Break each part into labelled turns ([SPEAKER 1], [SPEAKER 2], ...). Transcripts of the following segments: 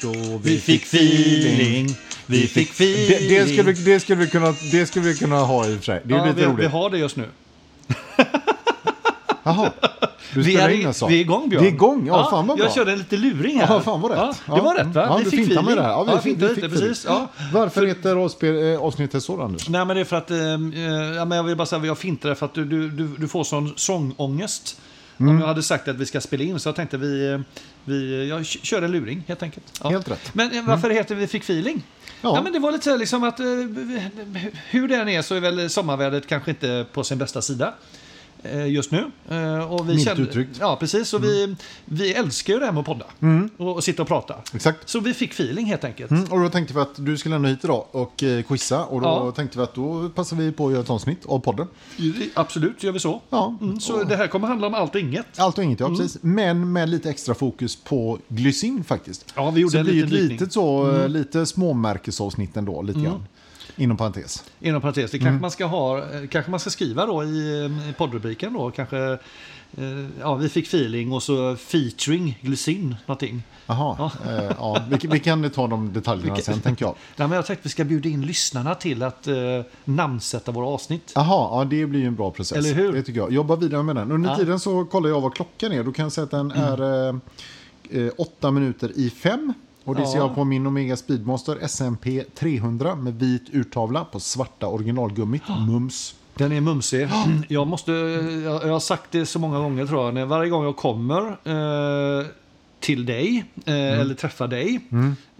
[SPEAKER 1] Då vi fick feeling, vi fick feeling.
[SPEAKER 2] Det, det, skulle, vi- det, skulle vi kunna, det skulle vi kunna ha i och för sig. Det är
[SPEAKER 1] ja,
[SPEAKER 2] lite
[SPEAKER 1] vi,
[SPEAKER 2] roligt.
[SPEAKER 1] vi har det just nu.
[SPEAKER 2] Jaha, du
[SPEAKER 1] Vi
[SPEAKER 2] spelar
[SPEAKER 1] är,
[SPEAKER 2] in alltså?
[SPEAKER 1] i- vi är igång Björn.
[SPEAKER 2] Vi är igång, ja, fan vad bra.
[SPEAKER 1] Jag körde en lite luring här.
[SPEAKER 2] Ja, fan vad rätt.
[SPEAKER 1] Ja, det var rätt va?
[SPEAKER 2] Ja,
[SPEAKER 1] vi
[SPEAKER 2] du
[SPEAKER 1] fick
[SPEAKER 2] fintar
[SPEAKER 1] feeling.
[SPEAKER 2] med det här. Ja, vi fick,
[SPEAKER 1] fintade
[SPEAKER 2] vi
[SPEAKER 1] lite,
[SPEAKER 2] fick
[SPEAKER 1] precis.
[SPEAKER 2] feeling.
[SPEAKER 1] Ja.
[SPEAKER 2] Varför heter avspe- eh, avsnittet så, Anders?
[SPEAKER 1] Nej men det är för att, eh, eh, ja, men jag vill bara säga att jag fintade för att du, du, du, du får sån sångångest.
[SPEAKER 2] Mm.
[SPEAKER 1] Om jag hade sagt att vi ska spela in så jag tänkte vi, eh, vi jag k- kör en luring helt enkelt. Ja.
[SPEAKER 2] Helt rätt. Mm.
[SPEAKER 1] Men eh, varför heter vi Fick feeling? Ja.
[SPEAKER 2] Ja.
[SPEAKER 1] men det var lite så här liksom att eh, hur det än är så är väl sommarvädret kanske inte på sin bästa sida eh, just nu. Eh, och vi
[SPEAKER 2] Milt uttryckt. Mm.
[SPEAKER 1] Ja, precis. Och vi, vi älskar ju det här med att podda och, och sitta och prata.
[SPEAKER 2] Exakt.
[SPEAKER 1] Så vi fick feeling helt enkelt.
[SPEAKER 2] Mm, och då tänkte vi att du skulle ändå hit idag och eh, quizza. Och då
[SPEAKER 1] Ja.
[SPEAKER 2] tänkte vi att då passar vi på att göra ett avsnitt av podden.
[SPEAKER 1] Absolut, gör vi så.
[SPEAKER 2] Ja.
[SPEAKER 1] Mm, så det här kommer handla om allt och inget.
[SPEAKER 2] Allt och inget, ja precis. Men med lite extra fokus på glycin faktiskt.
[SPEAKER 1] Ja, vi gjorde
[SPEAKER 2] så
[SPEAKER 1] en
[SPEAKER 2] det blir ju
[SPEAKER 1] liten
[SPEAKER 2] ett
[SPEAKER 1] dykning.
[SPEAKER 2] litet så,
[SPEAKER 1] Mm.
[SPEAKER 2] eh, lite småmärkesavsnitt ändå, lite grann. Inom parentes.
[SPEAKER 1] Inom parentes, det kanske, man ska ha, eh, kanske man ska skriva då i, eh, i poddrubriken då. Kanske, eh, ja, vi fick feeling och så featuring glycin någonting.
[SPEAKER 2] Jaha, eh, ja, vi, vi kan ta de detaljerna
[SPEAKER 1] Vilket-
[SPEAKER 2] sen tänker jag.
[SPEAKER 1] Nej, men jag tänkte att vi ska bjuda in lyssnarna till att eh, namnsätta våra avsnitt.
[SPEAKER 2] Jaha, ja, det blir ju en bra process.
[SPEAKER 1] Eller hur?
[SPEAKER 2] Det tycker jag. Jobba vidare med den. Under
[SPEAKER 1] Ja. Mm.
[SPEAKER 2] tiden så kollar jag vad klockan är. Då kan jag säga att den är eh, eh, åtta minuter i fem. Och det ser
[SPEAKER 1] Ja.
[SPEAKER 2] jag på min Omega Speedmaster SMP 300 med vit urtavla på svarta originalgummit.
[SPEAKER 1] Ah.
[SPEAKER 2] Mums.
[SPEAKER 1] Den är mumsig. Jag, måste, eh, jag, jag har sagt det så många gånger tror jag. När varje gång jag kommer eh, till dig eh, eller träffar dig.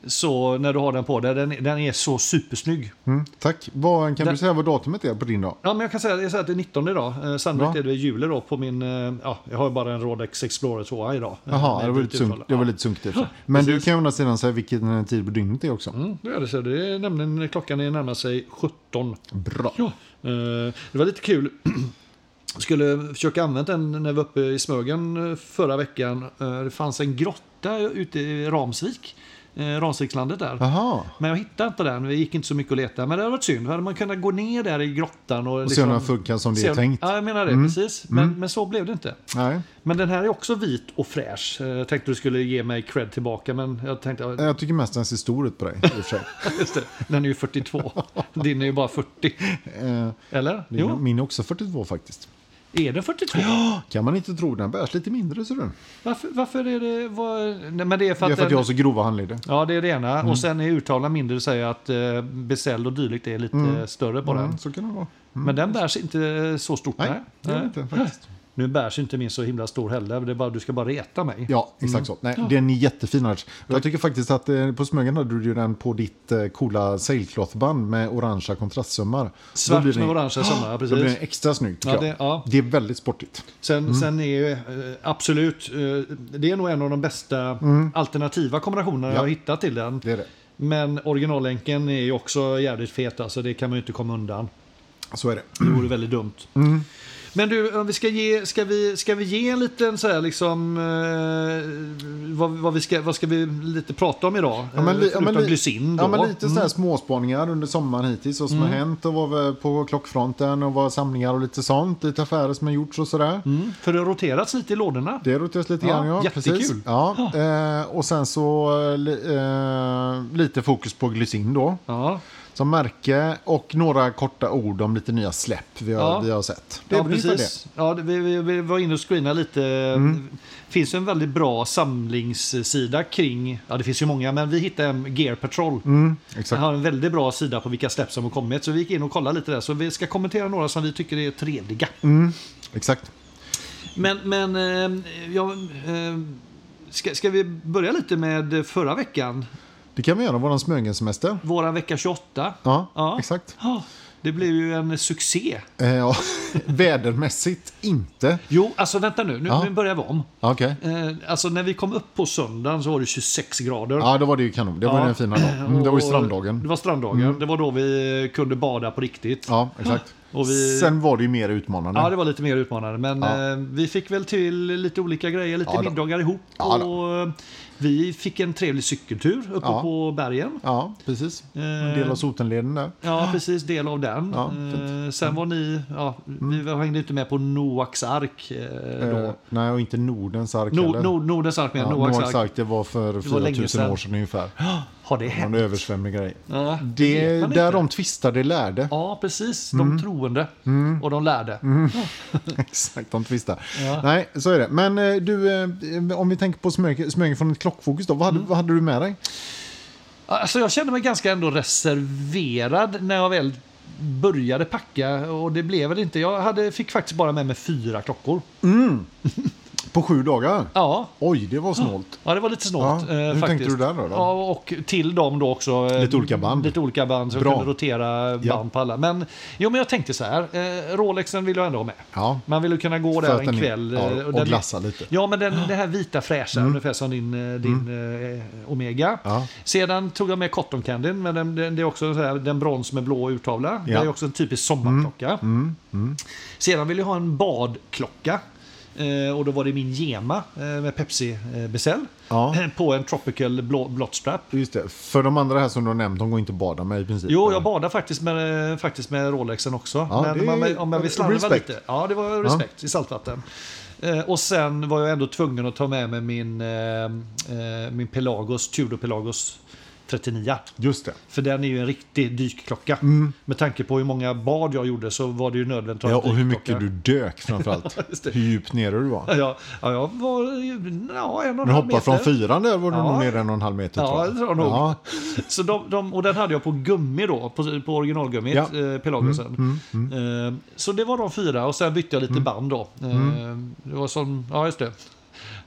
[SPEAKER 1] Så när du har den på dig, den, den är så supersnygg.
[SPEAKER 2] Mm, tack. Vad, kan
[SPEAKER 1] Där-
[SPEAKER 2] du säga vad datumet är på din dag?
[SPEAKER 1] Ja, men jag kan säga, jag säger att det är 19 idag. Eh, sannolikt
[SPEAKER 2] Bra.
[SPEAKER 1] är det juli då på min... Eh, ja, jag har ju bara en Rolex Explorer 2 idag. Eh,
[SPEAKER 2] Jaha,
[SPEAKER 1] med
[SPEAKER 2] det var
[SPEAKER 1] vit
[SPEAKER 2] lite sunk-
[SPEAKER 1] urtavla.
[SPEAKER 2] det var
[SPEAKER 1] Ja.
[SPEAKER 2] lite sunkigt. i och för sig. Men du
[SPEAKER 1] precis.
[SPEAKER 2] kan ju å andra sidan säga vilken eh, tid på dygnet det är också.
[SPEAKER 1] Mm, då är det så. Det är nämligen, klockan är närmar sig 17.
[SPEAKER 2] Bra.
[SPEAKER 1] Ja, eh, det var lite kul. Skulle försöka använda den när vi var uppe i Smögen eh, förra veckan. Eh, Det fanns en grotta ute i Ramsvik, eh, Ramsvikslandet där.
[SPEAKER 2] Jaha.
[SPEAKER 1] Men jag hittade inte den, vi gick inte så mycket att leta. Men det hade varit synd, hade man kunnat gå ner där i grottan och... liksom
[SPEAKER 2] Och se om den funkar som det
[SPEAKER 1] se
[SPEAKER 2] är
[SPEAKER 1] om-
[SPEAKER 2] tänkt. Mm.
[SPEAKER 1] Ja, jag menar det, precis. Men, men så blev det inte.
[SPEAKER 2] Nej.
[SPEAKER 1] Men den här är också vit och fräsch. Eh, Jag tänkte du skulle ge mig cred tillbaka, men jag tänkte... ja,
[SPEAKER 2] Jag tycker mest den ser stor ut på dig. i och för sig. Eh,
[SPEAKER 1] Just det, den är ju 42. Din är ju bara 40.
[SPEAKER 2] Eh,
[SPEAKER 1] Eller?
[SPEAKER 2] Min,
[SPEAKER 1] Jo,
[SPEAKER 2] min är också 42 faktiskt.
[SPEAKER 1] är den 42?
[SPEAKER 2] Kan man inte tro, den bärs lite mindre ser du.
[SPEAKER 1] Varför, varför är det... Vad, nej, men det är för
[SPEAKER 2] Det
[SPEAKER 1] att,
[SPEAKER 2] är för att jag Mm.
[SPEAKER 1] den,
[SPEAKER 2] har så grova handleder.
[SPEAKER 1] Ja, det är det ena. Och sen är urtavlan mindre, säger att eh, besäll och dylikt är lite eh, större på den.
[SPEAKER 2] Mm, så kan det vara. Mm.
[SPEAKER 1] Men den bärs inte eh, så stort.
[SPEAKER 2] Nej,
[SPEAKER 1] Nej,
[SPEAKER 2] det är det inte faktiskt.
[SPEAKER 1] Nu bärs inte min så himla stor heller. Det är bara, du ska bara reta mig.
[SPEAKER 2] Ja, exakt så. Nej, Den är jättefin Anders. Och Jag tycker faktiskt att eh, på Smögen hade du ju den på ditt eh, coola sailcloth-band med orangea kontrastsummar. Då
[SPEAKER 1] Svart
[SPEAKER 2] blir
[SPEAKER 1] med
[SPEAKER 2] den-
[SPEAKER 1] orange sommar, ja,
[SPEAKER 2] Då blir
[SPEAKER 1] precis.
[SPEAKER 2] den extra snygg tycker
[SPEAKER 1] Ja, det-
[SPEAKER 2] jag.
[SPEAKER 1] ja.
[SPEAKER 2] Det är väldigt sportigt.
[SPEAKER 1] Sen, sen är ju eh, absolut, eh, det är nog en av de bästa alternativa kombinationerna
[SPEAKER 2] Mm. Ja.
[SPEAKER 1] jag har hittat till den.
[SPEAKER 2] Det är det.
[SPEAKER 1] Men originallänken är ju också jävligt fet, alltså det kan man ju inte komma undan.
[SPEAKER 2] Så är det.
[SPEAKER 1] Det vore väldigt dumt.
[SPEAKER 2] Mm.
[SPEAKER 1] Men du, om vi ska, ge, ska, vi, ska vi ge en liten så här liksom... Eh, vad, vad, vi ska, vad ska vi lite prata om idag?
[SPEAKER 2] Ja, men,
[SPEAKER 1] Eh,
[SPEAKER 2] li- ja,
[SPEAKER 1] Förutom Mm.
[SPEAKER 2] men, li-
[SPEAKER 1] glycin då.
[SPEAKER 2] ja, men lite sådär småspåningar under sommaren hittills. Vad som
[SPEAKER 1] Mm.
[SPEAKER 2] har hänt och vad vi- på klockfronten och vad samlingar och lite sånt. Lite affärer som har gjorts och sådär.
[SPEAKER 1] Mm, för det har roterats lite i lådorna.
[SPEAKER 2] Det roteras lite
[SPEAKER 1] Ja,
[SPEAKER 2] grann, ja.
[SPEAKER 1] jättekul.
[SPEAKER 2] Precis. Ja, eh, och sen så eh, li- eh, lite fokus på glycin då,
[SPEAKER 1] Ja,
[SPEAKER 2] som märke. Och några korta ord om lite nya släpp vi har,
[SPEAKER 1] Ja.
[SPEAKER 2] vi har sett. Det är
[SPEAKER 1] ja
[SPEAKER 2] väl ungefär det. Mm.
[SPEAKER 1] precis. Ja, det, vi, vi, vi var inne och screenade lite. Det finns ju en väldigt bra samlingssida kring... Ja, det finns ju många, men vi hittade en Gear Patrol.
[SPEAKER 2] Mm,
[SPEAKER 1] Den
[SPEAKER 2] exakt.
[SPEAKER 1] har en väldigt bra sida på vilka släpp som har kommit. Så vi gick in och kollade lite där. Så vi ska kommentera några som vi tycker är trevliga.
[SPEAKER 2] Mm, exakt.
[SPEAKER 1] Men, men eh, jag, eh, ska, ska vi börja lite med förra veckan?
[SPEAKER 2] Det kan vi göra, våran Smögensemester.
[SPEAKER 1] Våran vecka 28.
[SPEAKER 2] Ja,
[SPEAKER 1] Ja.
[SPEAKER 2] exakt.
[SPEAKER 1] Ja, Det blev ju en succé.
[SPEAKER 2] Eh, ja. Vädermässigt inte.
[SPEAKER 1] Jo, alltså vänta nu. Nu,
[SPEAKER 2] Ja.
[SPEAKER 1] nu börjar vi om.
[SPEAKER 2] Okej.
[SPEAKER 1] Eh, Alltså när vi kom upp på söndagen så var det 26 grader.
[SPEAKER 2] Ja, då var det ju kanon. Det var
[SPEAKER 1] Ja.
[SPEAKER 2] den fina dagen. Mm, det var ju
[SPEAKER 1] Och-
[SPEAKER 2] stranddagen. Mm.
[SPEAKER 1] Det var stranddagen. Det var då vi kunde bada på riktigt.
[SPEAKER 2] Ja, exakt.
[SPEAKER 1] Och vi-
[SPEAKER 2] Sen var det ju mer utmanande.
[SPEAKER 1] Ja, det var lite mer utmanande. Men
[SPEAKER 2] Ja.
[SPEAKER 1] eh, vi fick väl till lite olika grejer, lite
[SPEAKER 2] Ja då.
[SPEAKER 1] middagar ihop.
[SPEAKER 2] Ja då.
[SPEAKER 1] och, eh, Vi fick en trevlig cykeltur uppe
[SPEAKER 2] Ja.
[SPEAKER 1] på bergen.
[SPEAKER 2] Ja, precis.
[SPEAKER 1] Eh,
[SPEAKER 2] En del av Sotenleden där.
[SPEAKER 1] Ja, precis. Del av den.
[SPEAKER 2] Ja, Mm.
[SPEAKER 1] eh, sen var ni... Ja, Vi hängde inte med på Noaks ark eh, då.
[SPEAKER 2] Eh, nej, och inte Nordens ark
[SPEAKER 1] Nord,
[SPEAKER 2] heller.
[SPEAKER 1] Nord, Nordens ark med
[SPEAKER 2] ja,
[SPEAKER 1] Noaks ark.
[SPEAKER 2] det var för
[SPEAKER 1] var länge
[SPEAKER 2] 4000
[SPEAKER 1] sedan.
[SPEAKER 2] år sedan ungefär.
[SPEAKER 1] Har det
[SPEAKER 2] En
[SPEAKER 1] hänt?
[SPEAKER 2] översvämning grej.
[SPEAKER 1] Ja,
[SPEAKER 2] Det,
[SPEAKER 1] vet man
[SPEAKER 2] där Mm.
[SPEAKER 1] inte.
[SPEAKER 2] de tvistade lärde.
[SPEAKER 1] Ja, precis. De troende
[SPEAKER 2] Mm.
[SPEAKER 1] och de lärde.
[SPEAKER 2] Exakt, de tvistar.
[SPEAKER 1] Ja.
[SPEAKER 2] Nej, så är det. Men eh, du, eh, om vi tänker på Smögen, Smögen från ett klockfokus då. Vad
[SPEAKER 1] Mm.
[SPEAKER 2] hade, vad hade du med dig?
[SPEAKER 1] Alltså, jag kände mig ganska ändå reserverad när jag väl började packa och det blev väl inte. Jag hade, fick faktiskt bara med mig fyra klockor.
[SPEAKER 2] På sju dagar?
[SPEAKER 1] Ja,
[SPEAKER 2] Oj, det var snålt.
[SPEAKER 1] ja det var lite
[SPEAKER 2] Ja,
[SPEAKER 1] snålt. eh,
[SPEAKER 2] hur
[SPEAKER 1] faktiskt.
[SPEAKER 2] tänkte du där då, då?
[SPEAKER 1] Ja, och till dem då också. eh,
[SPEAKER 2] Lite olika band.
[SPEAKER 1] Lite olika band så
[SPEAKER 2] Bra.
[SPEAKER 1] jag kunde rotera band
[SPEAKER 2] Ja.
[SPEAKER 1] på alla. Men, jo, men jag tänkte så här, eh, Rolexen vill jag ändå ha med.
[SPEAKER 2] Ja.
[SPEAKER 1] Man vill ju kunna gå
[SPEAKER 2] För
[SPEAKER 1] där
[SPEAKER 2] att
[SPEAKER 1] en
[SPEAKER 2] den är-
[SPEAKER 1] kväll.
[SPEAKER 2] ja,
[SPEAKER 1] eh,
[SPEAKER 2] och
[SPEAKER 1] den-
[SPEAKER 2] glassa lite.
[SPEAKER 1] Ja, men den, det här vita fräscha, ungefär som din, eh, din eh, Omega.
[SPEAKER 2] Mm. Ja.
[SPEAKER 1] Sedan tog jag med Cotton Candy, men den, den, det är också så här, den brons med blå urtavla.
[SPEAKER 2] Ja. Mm.
[SPEAKER 1] Det är också en typisk sommarklocka. Sedan vill jag ha en badklocka. Eh, och då var det min Gema eh, med Pepsi-besäll
[SPEAKER 2] Ja.
[SPEAKER 1] Eh, på en tropical blå, blått strap.
[SPEAKER 2] Just det. För de andra här som du har nämnt, de går inte att bada med i princip.
[SPEAKER 1] Jo, jag badar faktiskt med, eh, faktiskt med Rolexen också.
[SPEAKER 2] typ, Ja, det
[SPEAKER 1] men
[SPEAKER 2] är-
[SPEAKER 1] man, om jag vill slarva
[SPEAKER 2] respekt.
[SPEAKER 1] lite. Ja, det var respekt i saltvatten. Eh, och sen var jag ändå tvungen att ta med mig min, eh, eh, min Pelagos, Tudor Pelagos 39.
[SPEAKER 2] Just det.
[SPEAKER 1] För den är ju en riktig dykklocka. Med tanke på hur många bad jag gjorde så var det ju nödvändigt att
[SPEAKER 2] Mm. Ja,
[SPEAKER 1] ha en
[SPEAKER 2] och hur
[SPEAKER 1] dykklocka.
[SPEAKER 2] mycket du dök framförallt.
[SPEAKER 1] Just det.
[SPEAKER 2] hur djupt nere du var.
[SPEAKER 1] Ja, ja, jag var ju- ja, en och en
[SPEAKER 2] Men
[SPEAKER 1] halv
[SPEAKER 2] hoppa
[SPEAKER 1] meter.
[SPEAKER 2] från fyran där var du
[SPEAKER 1] Ja.
[SPEAKER 2] nog nere en och en halv meter.
[SPEAKER 1] Ja,
[SPEAKER 2] tror
[SPEAKER 1] det tror jag nog.
[SPEAKER 2] Ja,
[SPEAKER 1] Så de, de, och den hade jag på gummi då, på, på originalgummit,
[SPEAKER 2] Ja. Mm,
[SPEAKER 1] eh, Pelagosen. Eh, så det var de fyra och sen bytte jag lite
[SPEAKER 2] Mm.
[SPEAKER 1] band då. Eh, Det var som, ja just det.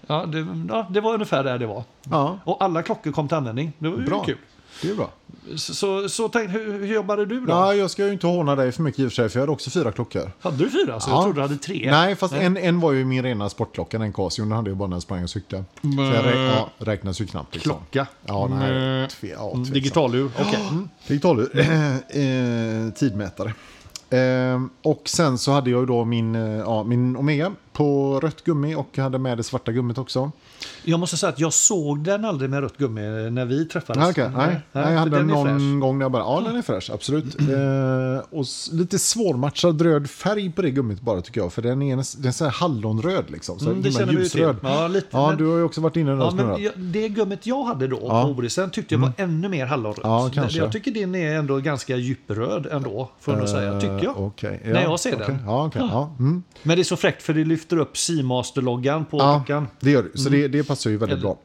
[SPEAKER 1] Ja, det, ja, det var ungefär där det var.
[SPEAKER 2] ja,
[SPEAKER 1] Och alla klockor kom till användning. Det var ju
[SPEAKER 2] bra.
[SPEAKER 1] kul.
[SPEAKER 2] Det är bra.
[SPEAKER 1] Så, så, så tänk, hur, hur jobbade du då?
[SPEAKER 2] Ja, jag ska ju inte håna dig för mycket i och för sig, för jag hade också fyra klockor.
[SPEAKER 1] Hade du fyra? Så
[SPEAKER 2] Ja.
[SPEAKER 1] jag trodde du hade tre.
[SPEAKER 2] Nej, fast en, en var ju min rena sportklocka, den Casio. Den hade jag bara när jag sprang och cyklade. Så jag rä ja, räknas ju knappt. Liksom.
[SPEAKER 1] Klocka.
[SPEAKER 2] Ja, nej.
[SPEAKER 1] Mm.
[SPEAKER 2] Tve ja, tveksam.
[SPEAKER 1] Digitalur. Okej. Mm.
[SPEAKER 2] Digital eh, tidmätare. Eh, och sen så hade jag ju då min, eh, ja, min Omega på rött gummi och jag hade med det svarta gummit också.
[SPEAKER 1] Jag måste säga att jag såg den aldrig med rött gummi när vi träffades.
[SPEAKER 2] Nej, Ah, okej. nej, nej, jag
[SPEAKER 1] för
[SPEAKER 2] hade den
[SPEAKER 1] den är
[SPEAKER 2] någon
[SPEAKER 1] fräsch.
[SPEAKER 2] gång när jag bara, ja den är fräsch, absolut. Eh, och s- lite svårmatchad röd färg på det gummit bara tycker jag, för den är, näs- den är så här hallonröd liksom. Så
[SPEAKER 1] Mm, det
[SPEAKER 2] himla
[SPEAKER 1] känner vi ju till.
[SPEAKER 2] ljusröd.
[SPEAKER 1] Ja, lite.
[SPEAKER 2] Ja,
[SPEAKER 1] men-
[SPEAKER 2] du har ju också varit inne i den
[SPEAKER 1] Ja,
[SPEAKER 2] här snurran.
[SPEAKER 1] men jag, det gummit jag hade då
[SPEAKER 2] Ja. Mm.
[SPEAKER 1] på Orisen tyckte jag var ännu mer hallonrött.
[SPEAKER 2] Ja, kanske.
[SPEAKER 1] Jag tycker din är ändå ganska djupröd ändå, får jag nog säga. Tycker jag.
[SPEAKER 2] Eh, okej,
[SPEAKER 1] När jag ser
[SPEAKER 2] okej,
[SPEAKER 1] den.
[SPEAKER 2] Ja, okej, ja. Mm.
[SPEAKER 1] Men det är så fräckt för det lyfter upp Seamaster-loggan på
[SPEAKER 2] Ja,
[SPEAKER 1] klockan.
[SPEAKER 2] det gör det. Så
[SPEAKER 1] Mm.
[SPEAKER 2] det, det passar ju väldigt bra.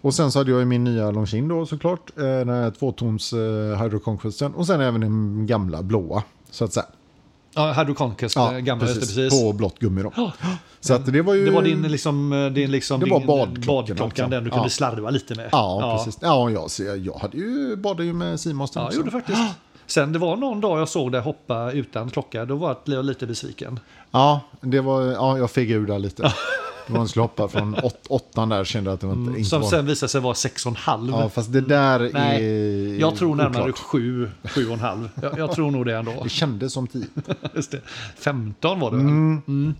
[SPEAKER 2] Och sen så hade jag ju min nya Longines då såklart. eh, Den här tvåtons eh, Hydro Conquesten. Och sen även den gamla blåa. Så att säga.
[SPEAKER 1] Ja, Hydro Conquest,
[SPEAKER 2] Ja,
[SPEAKER 1] ja, Eh, gamla precis. Precis.
[SPEAKER 2] På blått gummi då. Så att det var ju...
[SPEAKER 1] Det var din, liksom, eh, din, liksom,
[SPEAKER 2] Det var
[SPEAKER 1] din
[SPEAKER 2] badklockan,
[SPEAKER 1] badklockan,
[SPEAKER 2] alltså.
[SPEAKER 1] den du
[SPEAKER 2] Ja.
[SPEAKER 1] kunde slarva lite med.
[SPEAKER 2] Ja, precis. Ja, jag, så jag, jag hade ju, badade ju med Seamaster.
[SPEAKER 1] Ja, jag
[SPEAKER 2] också.
[SPEAKER 1] gjorde faktiskt. Sen det var någon dag jag såg dig hoppa utan klocka, då var jag lite besviken.
[SPEAKER 2] Ja, det var, ja, jag fegade ur där lite. Det var en skulle hoppa från åt, åttan där kände jag att det var inte, inte
[SPEAKER 1] Mm. Som
[SPEAKER 2] var...
[SPEAKER 1] sen visade sig vara 6,5.
[SPEAKER 2] Ja, fast det där
[SPEAKER 1] Nej,
[SPEAKER 2] är
[SPEAKER 1] Jag tror närmare
[SPEAKER 2] oklart.
[SPEAKER 1] sju, sju och en halv. Jag, jag tror nog det ändå.
[SPEAKER 2] Det kändes som tio.
[SPEAKER 1] Just det. 15 var det väl?
[SPEAKER 2] Mm.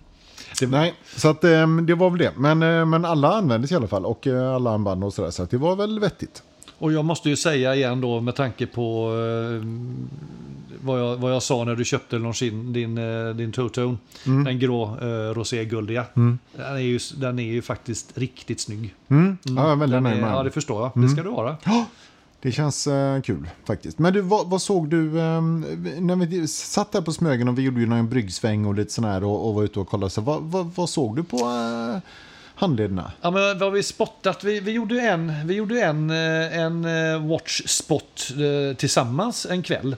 [SPEAKER 2] Nej, så att, ehm, det var väl det. Men, eh, men alla användes i alla fall och eh, alla armband och sådär. Så att det var väl vettigt.
[SPEAKER 1] Och jag måste ju säga igen då med tanke på eh, vad, jag, vad jag sa när du köpte Longines, din, eh, din two-tone.
[SPEAKER 2] Mm.
[SPEAKER 1] Den grå eh, roséguldiga. Den, är ju, den är ju faktiskt riktigt snygg.
[SPEAKER 2] Mm. Ja, jag är väldigt
[SPEAKER 1] Den
[SPEAKER 2] nöjd
[SPEAKER 1] är,
[SPEAKER 2] med
[SPEAKER 1] ja, det
[SPEAKER 2] det...
[SPEAKER 1] förstår jag.
[SPEAKER 2] Mm.
[SPEAKER 1] Det ska du vara.
[SPEAKER 2] det känns eh, kul faktiskt. Men du, vad, vad såg du ehm, när vi satt där på Smögen och vi gjorde ju någon bryggsväng och lite sån här och, och var ute och kollade. Så vad, vad, vad såg du på eh, handlederna?
[SPEAKER 1] Ja, men vad har vi spottat? Vi, vi gjorde ju en, vi gjorde ju en, eh, en eh, watch spot eh, tillsammans en kväll.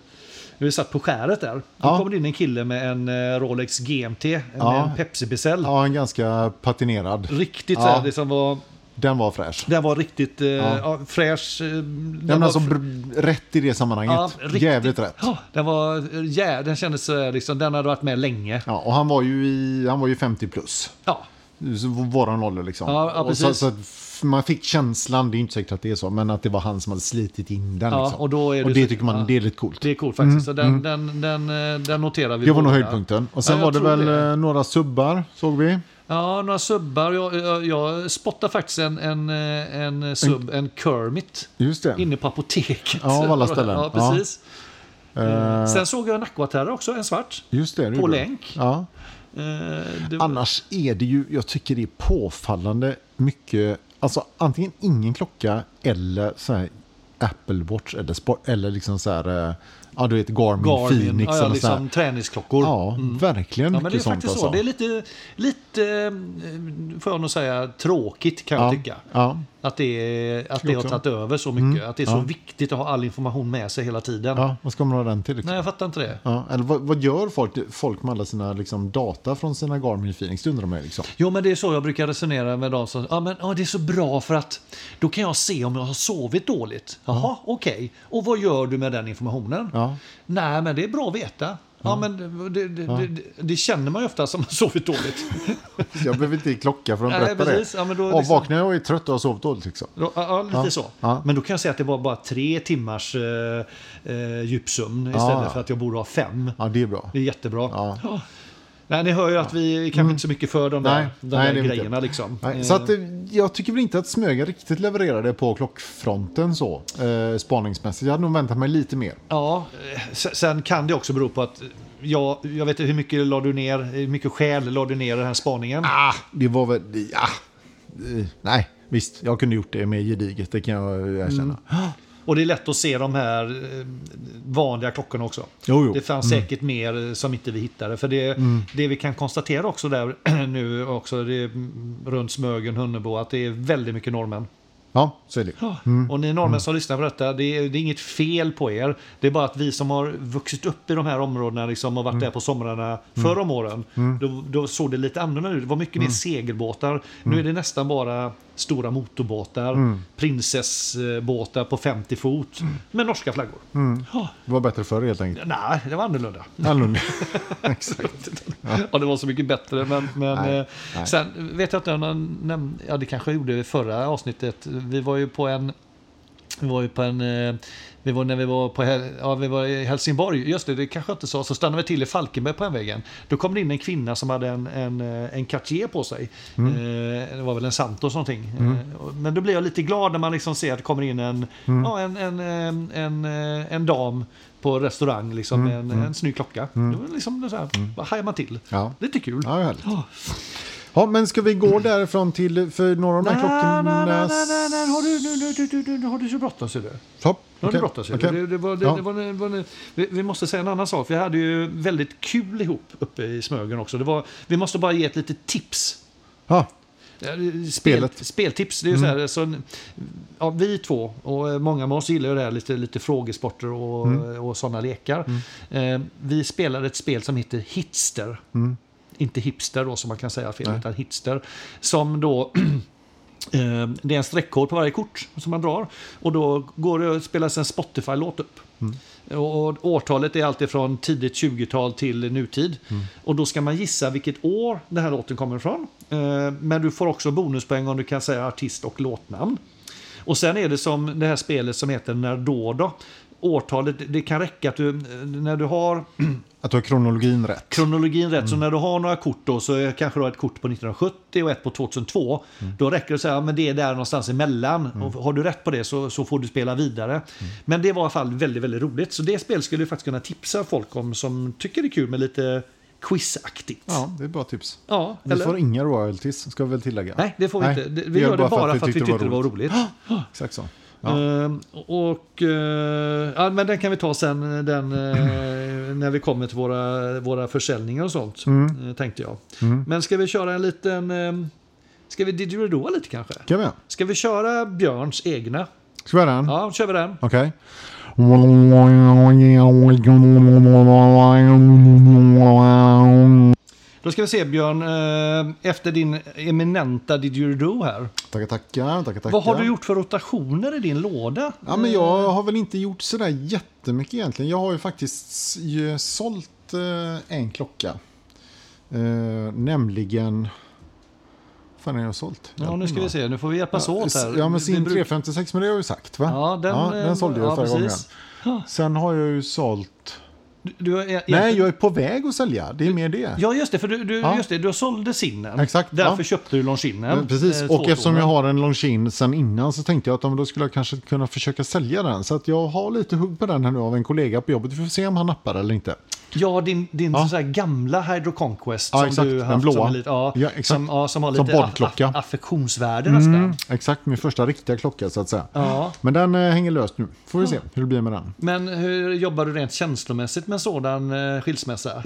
[SPEAKER 1] Vi satt på skäret där. Då
[SPEAKER 2] Ja.
[SPEAKER 1] kom det in en kille med en eh, Rolex GMT, en,
[SPEAKER 2] Ja.
[SPEAKER 1] en Pepsi-besäll.
[SPEAKER 2] Ja, en ganska patinerad.
[SPEAKER 1] Riktigt
[SPEAKER 2] Ja.
[SPEAKER 1] så här, det som var,
[SPEAKER 2] Den var fräsch.
[SPEAKER 1] den var riktigt eh, ja. fräsch. eh, Den
[SPEAKER 2] Den
[SPEAKER 1] var
[SPEAKER 2] var så
[SPEAKER 1] fr-
[SPEAKER 2] br- rätt i det sammanhanget.
[SPEAKER 1] ja, riktigt-
[SPEAKER 2] alltså Jävligt rätt.
[SPEAKER 1] Ja, den var, eh, jä- den kändes så här, liksom, den hade varit med länge.
[SPEAKER 2] Ja, och han var ju, i, han var ju 50 plus.
[SPEAKER 1] Ja.
[SPEAKER 2] Så Våran ålder liksom.
[SPEAKER 1] Ja, ja,
[SPEAKER 2] Och så,
[SPEAKER 1] precis.
[SPEAKER 2] så att f- man fick känslan, det är inte säkert att det är så, men att det var han som hade slitit in den.
[SPEAKER 1] Ja,
[SPEAKER 2] liksom.
[SPEAKER 1] och då är det
[SPEAKER 2] och
[SPEAKER 1] ju
[SPEAKER 2] det
[SPEAKER 1] så-
[SPEAKER 2] tycker man
[SPEAKER 1] ja.
[SPEAKER 2] det är lite coolt.
[SPEAKER 1] Det är coolt faktiskt.
[SPEAKER 2] Mm,
[SPEAKER 1] så den, den, den, eh, den noterar vi.
[SPEAKER 2] Det var nog
[SPEAKER 1] båda.
[SPEAKER 2] höjdpunkten. Och sen
[SPEAKER 1] Ja, jag
[SPEAKER 2] var det
[SPEAKER 1] tror
[SPEAKER 2] väl
[SPEAKER 1] det.
[SPEAKER 2] eh, några subbar såg vi.
[SPEAKER 1] Ja, några subbar. Jag, jag, jag spottar faktiskt en, en, eh, en sub, en Kermit,
[SPEAKER 2] Just det.
[SPEAKER 1] inne på apoteket.
[SPEAKER 2] Ja, av alla ställen.
[SPEAKER 1] Ja, precis. Mm.
[SPEAKER 2] Eh,
[SPEAKER 1] Sen såg jag en Aquaterra också, en svart.
[SPEAKER 2] just det, det
[SPEAKER 1] På
[SPEAKER 2] gjorde du.
[SPEAKER 1] länk.
[SPEAKER 2] Ja.
[SPEAKER 1] Eh, det var-
[SPEAKER 2] Annars är det ju, jag tycker det är påfallande mycket, alltså antingen ingen klocka eller så här Apple Watch eller, sport, eller liksom så här, eh, ja du vet Garmin,
[SPEAKER 1] Garmin,
[SPEAKER 2] Phoenix
[SPEAKER 1] ja, ja,
[SPEAKER 2] eller så här.
[SPEAKER 1] liksom träningsklockor.
[SPEAKER 2] Ja, verkligen
[SPEAKER 1] Ja,
[SPEAKER 2] mycket
[SPEAKER 1] men det är
[SPEAKER 2] sånt
[SPEAKER 1] faktiskt så.
[SPEAKER 2] alltså.
[SPEAKER 1] Det är lite, lite, eh, får jag nog säga, tråkigt kan jag tycka.
[SPEAKER 2] ja, ja,
[SPEAKER 1] Att det, är- att det har
[SPEAKER 2] Också.
[SPEAKER 1] tagit över så mycket. Att det är så
[SPEAKER 2] Mm. Ja.
[SPEAKER 1] viktigt att ha all information med sig hela tiden.
[SPEAKER 2] ja, vad ska man ha den till? Liksom?
[SPEAKER 1] Nej, jag fattar inte det.
[SPEAKER 2] Ja, eller vad, vad gör folk, folk med alla sina liksom, data från sina Garmin Phoenix? Det undrar man ju liksom.
[SPEAKER 1] Jo, men det är så jag brukar resonera med dem som ja, men ja, det är så bra för att då kan jag se om jag har sovit dåligt. Jaha, okej. Och vad gör du med den informationen?
[SPEAKER 2] Ja.
[SPEAKER 1] Nej, men det är bra att veta. Ja, men det, det, det, det känner man ju ofta som har sovit dåligt.
[SPEAKER 2] Jag behöver inte klocka för att
[SPEAKER 1] Nej,
[SPEAKER 2] berätta
[SPEAKER 1] precis.
[SPEAKER 2] det.
[SPEAKER 1] Ja, men då
[SPEAKER 2] Ja,
[SPEAKER 1] liksom-
[SPEAKER 2] Vaknar jag och är trött och har sovit dåligt liksom.
[SPEAKER 1] Ja, ja, lite
[SPEAKER 2] Ja,
[SPEAKER 1] så.
[SPEAKER 2] ja.
[SPEAKER 1] Men då kan jag säga att det var bara tre timmars eh, eh, djupsömn istället
[SPEAKER 2] Ja, ja.
[SPEAKER 1] för att jag borde ha fem.
[SPEAKER 2] Ja, det är bra.
[SPEAKER 1] Det är jättebra.
[SPEAKER 2] Ja. Mm.
[SPEAKER 1] Ja. Nej, ni hör ju att vi är kanske inte så mycket för de där,
[SPEAKER 2] Nej,
[SPEAKER 1] de
[SPEAKER 2] nej, det
[SPEAKER 1] där
[SPEAKER 2] är vi
[SPEAKER 1] grejerna.
[SPEAKER 2] inte.
[SPEAKER 1] Liksom.
[SPEAKER 2] Nej, så att, eh, jag tycker väl inte att Smögen riktigt levererade på klockfronten så, eh, spaningsmässigt. Jag hade nog väntat mig lite mer.
[SPEAKER 1] Ja, eh, se- sen kan det också bero på att jag, jag vet inte hur mycket la du ner, hur mycket själ la du ner i den här spaningen.
[SPEAKER 2] Ah, det var väl... Ja. Eh, Nej, visst. Jag kunde gjort det mer gediget, det kan jag eh, erkänna.
[SPEAKER 1] Mm. Och det är lätt att se de här eh, vanliga klockorna också.
[SPEAKER 2] Jo, Mm. jo.
[SPEAKER 1] Det fanns säkert mer eh, som inte vi hittade. För det, det vi kan konstatera också där nu också, det är mm, runt Smögen, Hunnebo, att det är väldigt mycket norrmän. Mm.
[SPEAKER 2] Ja, Mm. så är det.
[SPEAKER 1] Och ni norrmän som lyssnar på detta, det är, det är inget fel på er. Det är bara att vi som har vuxit upp i de här områdena liksom, och varit
[SPEAKER 2] Mm.
[SPEAKER 1] där på somrarna förr om åren, då, då såg det lite annorlunda ut. Det var mycket
[SPEAKER 2] Mm.
[SPEAKER 1] mer segelbåtar. Nu är det nästan bara stora motorbåtar,
[SPEAKER 2] Mm.
[SPEAKER 1] prinsessbåtar på 50 fot med norska flaggor. Ja,
[SPEAKER 2] Det var bättre förr helt enkelt.
[SPEAKER 1] nej, det var annorlunda.
[SPEAKER 2] Annorlunda. Exakt.
[SPEAKER 1] Ja, det var så mycket bättre. Men, men
[SPEAKER 2] Nej,
[SPEAKER 1] eh,
[SPEAKER 2] nej.
[SPEAKER 1] sen vet jag inte om någon nämnde, ja det kanske jag gjorde i förra avsnittet. Vi var ju på en, vi var ju på en, eh, vi var, när vi var på, Hel- ja vi var i Helsingborg, just det, det kanske jag inte sa, så stannade vi till i Falkenberg på en vägen. Då kom det in en kvinna som hade en, en, eh, en Cartier på sig.
[SPEAKER 2] Mm.
[SPEAKER 1] Eh, Det var väl en Santos någonting. Eh, och- Men då blir jag lite glad när man liksom ser att det kommer in en,
[SPEAKER 2] Mm.
[SPEAKER 1] ja, en, en, en, en, eh, en dam på restaurang liksom,
[SPEAKER 2] Mm.
[SPEAKER 1] med en, en snygg klocka. Det var liksom så här, bara hajar man till.
[SPEAKER 2] Ja.
[SPEAKER 1] Lite kul.
[SPEAKER 2] Ja, härligt.
[SPEAKER 1] Ja.
[SPEAKER 2] Ja, men ska vi gå därifrån till, för några av de här
[SPEAKER 1] Na, na, na, na,
[SPEAKER 2] klockorna...
[SPEAKER 1] na, na. Har du- nu- nu- du- du- du- nu har du så bråttom ser du.
[SPEAKER 2] Hopp,
[SPEAKER 1] Nu har du
[SPEAKER 2] okej,
[SPEAKER 1] bråttom ser du.
[SPEAKER 2] okej.
[SPEAKER 1] Det- det var- det-
[SPEAKER 2] Ja.
[SPEAKER 1] det var- det var- Vi vi måste säga en annan sak. Vi hade ju väldigt kul ihop uppe i Smögen också. Det var, vi måste bara ge ett litet tips.
[SPEAKER 2] Ja,
[SPEAKER 1] Ja, det- Spel,
[SPEAKER 2] Spelet.
[SPEAKER 1] Speltips. Det är ju så här, så, ja, vi två och eh, många med oss gillar ju det här, lite, lite frågesporter och, och sådana lekar. Eh, vi spelar ett spel som heter Hitster. Inte hipster då som man kan säga fel, utan hitster. Som då Eh, Det är en streckkod på varje kort som man drar. Och då går det att spela en Spotify-låt upp. Och och årtalet är alltid från tidigt 20-tal till nutid. Och då ska man gissa vilket år den här låten kommer ifrån. Eh, Men du får också bonuspoäng om du kan säga artist och låtnamn. Och sen är det som det här spelet som heter När då då. Årtalet, det kan räcka att du, eh, när du har
[SPEAKER 2] att du har kronologin rätt.
[SPEAKER 1] kronologin rätt. Så när du har några kort då, så är kanske du har ett kort på 1970 och ett på 2002. Då räcker det att säga att det är där någonstans emellan. Och har du rätt på det så, så får du spela vidare. Men det var i alla fall väldigt, väldigt roligt. Så det spel skulle du faktiskt kunna tipsa folk om som tycker det är kul med lite quizaktigt.
[SPEAKER 2] Ja, det är bra tips.
[SPEAKER 1] Ja,
[SPEAKER 2] Vi får inga royalties, ska vi väl tillägga.
[SPEAKER 1] Nej, det får vi inte. Det- Vi gör det bara för att vi tyckte det var roligt.
[SPEAKER 2] Exakt så. Ja.
[SPEAKER 1] Ehm, och, eh, ja, men den kan vi ta sen den, eh, när vi kommer till våra, våra försäljningar och sånt.
[SPEAKER 2] Mm.
[SPEAKER 1] eh, Tänkte jag. Men ska vi köra en liten... Eh, ska vi didgeridoa lite kanske?
[SPEAKER 2] Kan vi?
[SPEAKER 1] Ska vi köra Björns egna?
[SPEAKER 2] Ska vi göra den?
[SPEAKER 1] Ja, kör vi den.
[SPEAKER 2] Okej.
[SPEAKER 1] Då ska vi se Björn, eh, efter din eminenta didgeridoo här.
[SPEAKER 2] Tackar, tackar, tackar, tackar.
[SPEAKER 1] Vad har du gjort för rotationer i din låda?
[SPEAKER 2] Ja, men jag har väl inte gjort sådär jättemycket egentligen. Jag har ju faktiskt s- ju sålt eh, en klocka. Eh, nämligen... Vad fan har jag sålt?
[SPEAKER 1] Ja, nu ska vi se. Nu får vi hjälpas åt
[SPEAKER 2] s-
[SPEAKER 1] här.
[SPEAKER 2] Ja, men
[SPEAKER 1] Vi- vi
[SPEAKER 2] sin
[SPEAKER 1] brukar-
[SPEAKER 2] 356, men det har jag ju sagt va?
[SPEAKER 1] Ja, den,
[SPEAKER 2] den sålde jag
[SPEAKER 1] ja,
[SPEAKER 2] förra gången.
[SPEAKER 1] precis.
[SPEAKER 2] Sen har jag ju sålt
[SPEAKER 1] Du, du, e- är-
[SPEAKER 2] Nej, jag är på väg att sälja. Det är mer det.
[SPEAKER 1] Ja, just det. För du, du,
[SPEAKER 2] Ja.
[SPEAKER 1] just det, du sålde sinnen.
[SPEAKER 2] Exakt,
[SPEAKER 1] Därför
[SPEAKER 2] ja.
[SPEAKER 1] köpte du eh, Longines.
[SPEAKER 2] Men Eh, Precis, och eftersom jag har en Longines sen innan så tänkte jag att ja, men då skulle jag kanske kunna försöka sälja den. Så att jag har lite hugg på den här nu av en kollega på jobbet. Vi får se om han nappar eller inte.
[SPEAKER 1] Ja, din, din
[SPEAKER 2] Ja.
[SPEAKER 1] Så här gamla Hydro Conquest.
[SPEAKER 2] Ja,
[SPEAKER 1] som
[SPEAKER 2] exakt.
[SPEAKER 1] du
[SPEAKER 2] Den
[SPEAKER 1] haft
[SPEAKER 2] blåa.
[SPEAKER 1] Som, är lite, ja,
[SPEAKER 2] Ja, exakt.
[SPEAKER 1] Som, ja, som har
[SPEAKER 2] Som
[SPEAKER 1] lite
[SPEAKER 2] badklocka.
[SPEAKER 1] aff- affektionsvärde
[SPEAKER 2] Mm,
[SPEAKER 1] nästan.
[SPEAKER 2] exakt, min första riktiga klocka så att säga.
[SPEAKER 1] Ja.
[SPEAKER 2] Men den eh, hänger löst nu. Får vi se hur det blir med den.
[SPEAKER 1] Men hur jobbar du rent känslomässigt med en sådan eh, skilsmässa?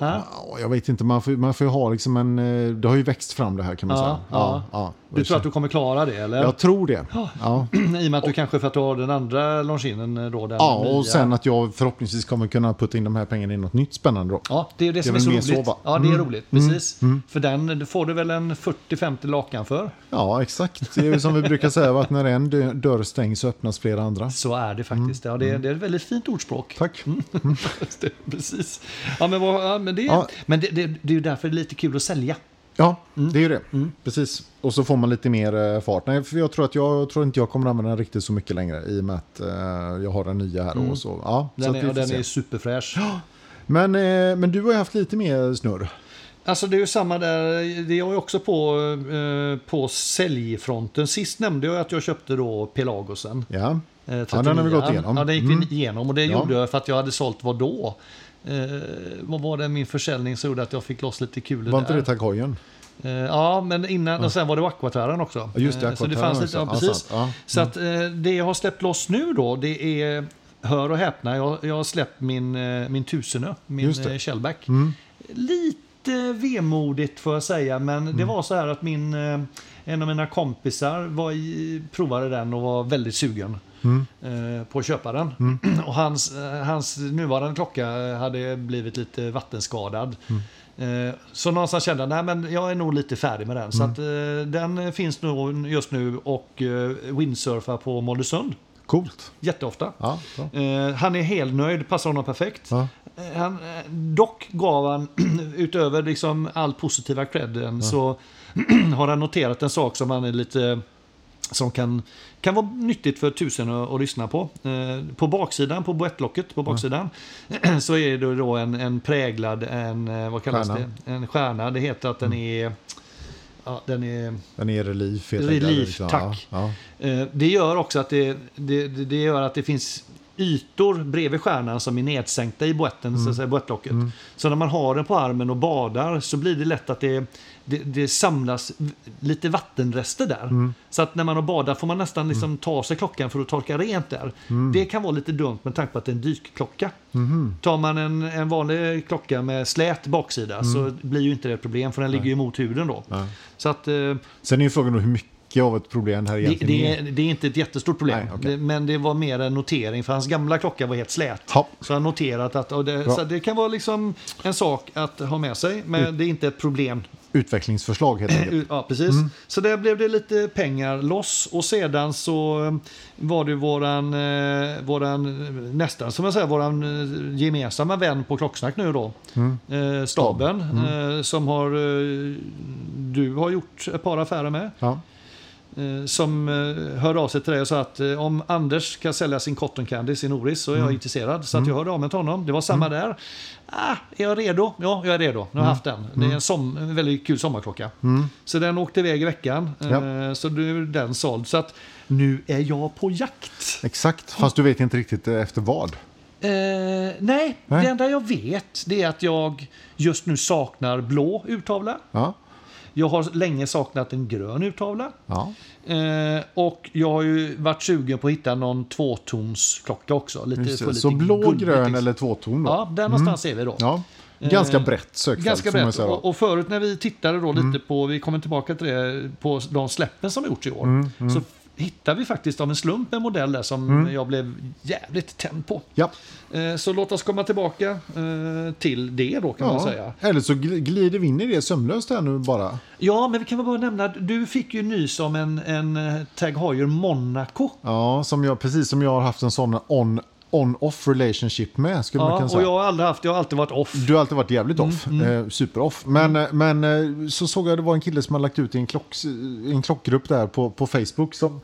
[SPEAKER 1] Ja?
[SPEAKER 2] Ja, Jag vet inte, man får, man får ju ha liksom en... eh, Det har ju växt fram det här kan man
[SPEAKER 1] Ja,
[SPEAKER 2] säga.
[SPEAKER 1] ja. Du tror att du kommer klara det eller?
[SPEAKER 2] Jag tror det. Ja.
[SPEAKER 1] I och med att du kanske för att du har den andra Longinen eh, då. Den
[SPEAKER 2] ja,
[SPEAKER 1] nya.
[SPEAKER 2] och sen att jag förhoppningsvis kommer kunna putta in de här pengarna i något nytt spännande då.
[SPEAKER 1] Ja, det är ju det, som är
[SPEAKER 2] väl
[SPEAKER 1] så
[SPEAKER 2] mer Mm.
[SPEAKER 1] roligt.
[SPEAKER 2] så, va?
[SPEAKER 1] ja, det är roligt. Precis. För den får du väl en 40-50 lakan för.
[SPEAKER 2] Ja, exakt. Det är ju som vi brukar säga, va, att när en dö- dörr stängs så öppnas flera andra.
[SPEAKER 1] Så är det faktiskt. Ja, det, är, det är ett väldigt fint ordspråk.
[SPEAKER 2] Mm. Tack.
[SPEAKER 1] Just det, Precis. Ja, men, vad, ja, men, det,
[SPEAKER 2] Ja.
[SPEAKER 1] men det, det, det är ju därför det är lite kul att sälja.
[SPEAKER 2] Ja,
[SPEAKER 1] Mm.
[SPEAKER 2] det är ju det. Precis. Och så får man lite mer eh, fart. Nej, för jag tror att jag, jag tror inte jag kommer använda den riktigt så mycket längre i och med att eh, jag har den nya här. Och så. Ja, så
[SPEAKER 1] Mm. Den,
[SPEAKER 2] att vi
[SPEAKER 1] är, och
[SPEAKER 2] får
[SPEAKER 1] den
[SPEAKER 2] se.
[SPEAKER 1] är superfräsch.
[SPEAKER 2] Men, eh, men du har ju haft lite mer snurr.
[SPEAKER 1] Alltså det är ju samma där, det är jag ju också på, eh, på säljfronten. Sist nämnde jag att jag köpte då Pelagosen.
[SPEAKER 2] Ja.
[SPEAKER 1] Eh,
[SPEAKER 2] Ja, den har vi
[SPEAKER 1] 39.
[SPEAKER 2] gått igenom. Mm.
[SPEAKER 1] Ja, den gick vi igenom och det
[SPEAKER 2] Ja.
[SPEAKER 1] gjorde jag för att jag hade sålt vad då? Eh, vad var det min försäljning som gjorde att jag fick loss lite kulor
[SPEAKER 2] Var
[SPEAKER 1] där?
[SPEAKER 2] inte det tack hojen?
[SPEAKER 1] Eh, Ja, men innan, och sen var det Aquaterran också.
[SPEAKER 2] Ja, just det,
[SPEAKER 1] Eh, så det
[SPEAKER 2] Aquaterran
[SPEAKER 1] fanns
[SPEAKER 2] också.
[SPEAKER 1] lite, ja,
[SPEAKER 2] Ja,
[SPEAKER 1] precis.
[SPEAKER 2] sant, ja.
[SPEAKER 1] Så att eh, det jag har släppt loss nu då, det är, hör och häpna, jag, jag har släppt min, eh, min Tusenö,
[SPEAKER 2] Just
[SPEAKER 1] min
[SPEAKER 2] det.
[SPEAKER 1] eh, Shellback.
[SPEAKER 2] Mm,
[SPEAKER 1] Lite vemodigt får jag säga, men det
[SPEAKER 2] Mm.
[SPEAKER 1] var så här att min, eh, en av mina kompisar var i, provade den och var väldigt sugen.
[SPEAKER 2] mm.
[SPEAKER 1] eh, på att köpa den. Och hans, eh, hans nuvarande klocka eh, hade blivit lite vattenskadad. Eh, Så någonstans kände jag, nej men jag är nog lite färdig med den. Så att, eh, den finns nog just nu och eh, windsurfar på Mollösund
[SPEAKER 2] Coolt.
[SPEAKER 1] jätteofta.
[SPEAKER 2] Ja, bra.
[SPEAKER 1] Eh, Han är helnöjd, passar honom perfekt.
[SPEAKER 2] Ja.
[SPEAKER 1] Eh, Han, eh, dock gav han, utöver liksom all positiva credden, så har han noterat en sak som han är lite som kan, kan vara nyttigt för tusen att, att lyssna på. Eh, på baksidan, på boettlocket på baksidan, så är det då en, en präglad, en, eh, vad kallas
[SPEAKER 2] Stjärna.
[SPEAKER 1] det? En stjärna. Det heter att den är, ja, den är
[SPEAKER 2] Den är relief. helt
[SPEAKER 1] Relief,
[SPEAKER 2] enkelt, liksom.
[SPEAKER 1] tack.
[SPEAKER 2] Ja, ja.
[SPEAKER 1] Eh, Det gör också att det, det, det det gör att det finns ytor bredvid stjärnan som är nedsänkta i boetten, så att säga, boettlocket. Så när man har den på armen och badar så blir det lätt att det, det, det samlas v- lite vattenrester där. Så att när man har badat får man nästan liksom ta sig klockan för att torka rent där. Det kan vara lite dumt med tanke på att det är en dykklocka. Tar man en, en vanlig klocka med slät baksida så blir ju inte det ett problem för den ligger ju mot huden då. Så att eh,
[SPEAKER 2] Sen är ju frågan då hur mycket av ett problem det här
[SPEAKER 1] det,
[SPEAKER 2] egentligen
[SPEAKER 1] det,
[SPEAKER 2] är.
[SPEAKER 1] är, det är inte ett jättestort problem.
[SPEAKER 2] Nej, okej.
[SPEAKER 1] det, men det var mer en notering, för hans gamla klocka var helt slät.
[SPEAKER 2] Ja.
[SPEAKER 1] Så han noterat att och det,
[SPEAKER 2] Bra.
[SPEAKER 1] så det kan vara liksom en sak att ha med sig, men
[SPEAKER 2] Mm.
[SPEAKER 1] det är inte ett problem.
[SPEAKER 2] Utvecklingsförslag helt enkelt.
[SPEAKER 1] Ja, precis.
[SPEAKER 2] Mm.
[SPEAKER 1] Så där blev det lite pengar loss och sedan så eh, var det våran, eh, våran eh, nästan som jag säger, våran eh, gemensamma vän på Klocksnack nu då,
[SPEAKER 2] Mm.
[SPEAKER 1] eh, Staben, eh, som har, eh, du har gjort ett par affärer med
[SPEAKER 2] Ja.
[SPEAKER 1] eh, som eh, hörde av sig till dig och sa att eh, om Anders kan sälja sin cotton candy, sin Oris, så är jag intresserad. Så att jag hörde av mig till honom. Det var samma där. Ah, är jag redo? Ja, jag är redo. Nu har jag haft den. Det är en, som, en väldigt kul sommarklocka. Så den åkte iväg i veckan. Eh,
[SPEAKER 2] Ja.
[SPEAKER 1] Så nu är den såld. Så att nu är jag på jakt.
[SPEAKER 2] Exakt, fast du vet inte riktigt eh, efter vad.
[SPEAKER 1] Eh, nej,
[SPEAKER 2] Nej.
[SPEAKER 1] det enda jag vet det är att jag just nu saknar blå urtavla.
[SPEAKER 2] Ja.
[SPEAKER 1] Jag har länge saknat en grön urtavla.
[SPEAKER 2] Ja.
[SPEAKER 1] Eh, och jag har ju varit sugen på att hitta någon tvåtonsklocka också. Lite,
[SPEAKER 2] Just
[SPEAKER 1] få
[SPEAKER 2] det.
[SPEAKER 1] lite
[SPEAKER 2] Så blå,
[SPEAKER 1] guld-
[SPEAKER 2] grön eller tvåton då?
[SPEAKER 1] Ja, där någonstans är vi då.
[SPEAKER 2] Ja. Ganska
[SPEAKER 1] Eh,
[SPEAKER 2] brett sökfält
[SPEAKER 1] Ganska
[SPEAKER 2] får man
[SPEAKER 1] brett.
[SPEAKER 2] säga. då. Mm.
[SPEAKER 1] Och, och förut när vi tittade då lite på, vi kommer tillbaka till det, på de släppen som gjorts i år.
[SPEAKER 2] Mm,
[SPEAKER 1] Så hittade vi faktiskt av en slump en modell där som
[SPEAKER 2] Mm.
[SPEAKER 1] jag blev jävligt tänd på.
[SPEAKER 2] Ja.
[SPEAKER 1] Eh, så låt oss komma tillbaka eh, till det då kan man säga.
[SPEAKER 2] Ja. Eller så gl- glider vi in i det sömlöst här nu bara.
[SPEAKER 1] Ja, men vi kan väl bara nämna att du fick ju nys om en, en eh, Tag Heuer Monaco.
[SPEAKER 2] Ja, som jag, precis som jag har haft en sån on- on-off relationship med skulle man
[SPEAKER 1] Ja,
[SPEAKER 2] kunna
[SPEAKER 1] och
[SPEAKER 2] säga.
[SPEAKER 1] jag har aldrig haft, jag har alltid varit off.
[SPEAKER 2] Du har alltid varit jävligt off,
[SPEAKER 1] Mm,
[SPEAKER 2] eh, super-off. Men, eh, men eh, så såg jag det var en kille som hade lagt ut i en, klock, i en klockgrupp där på, på Facebook som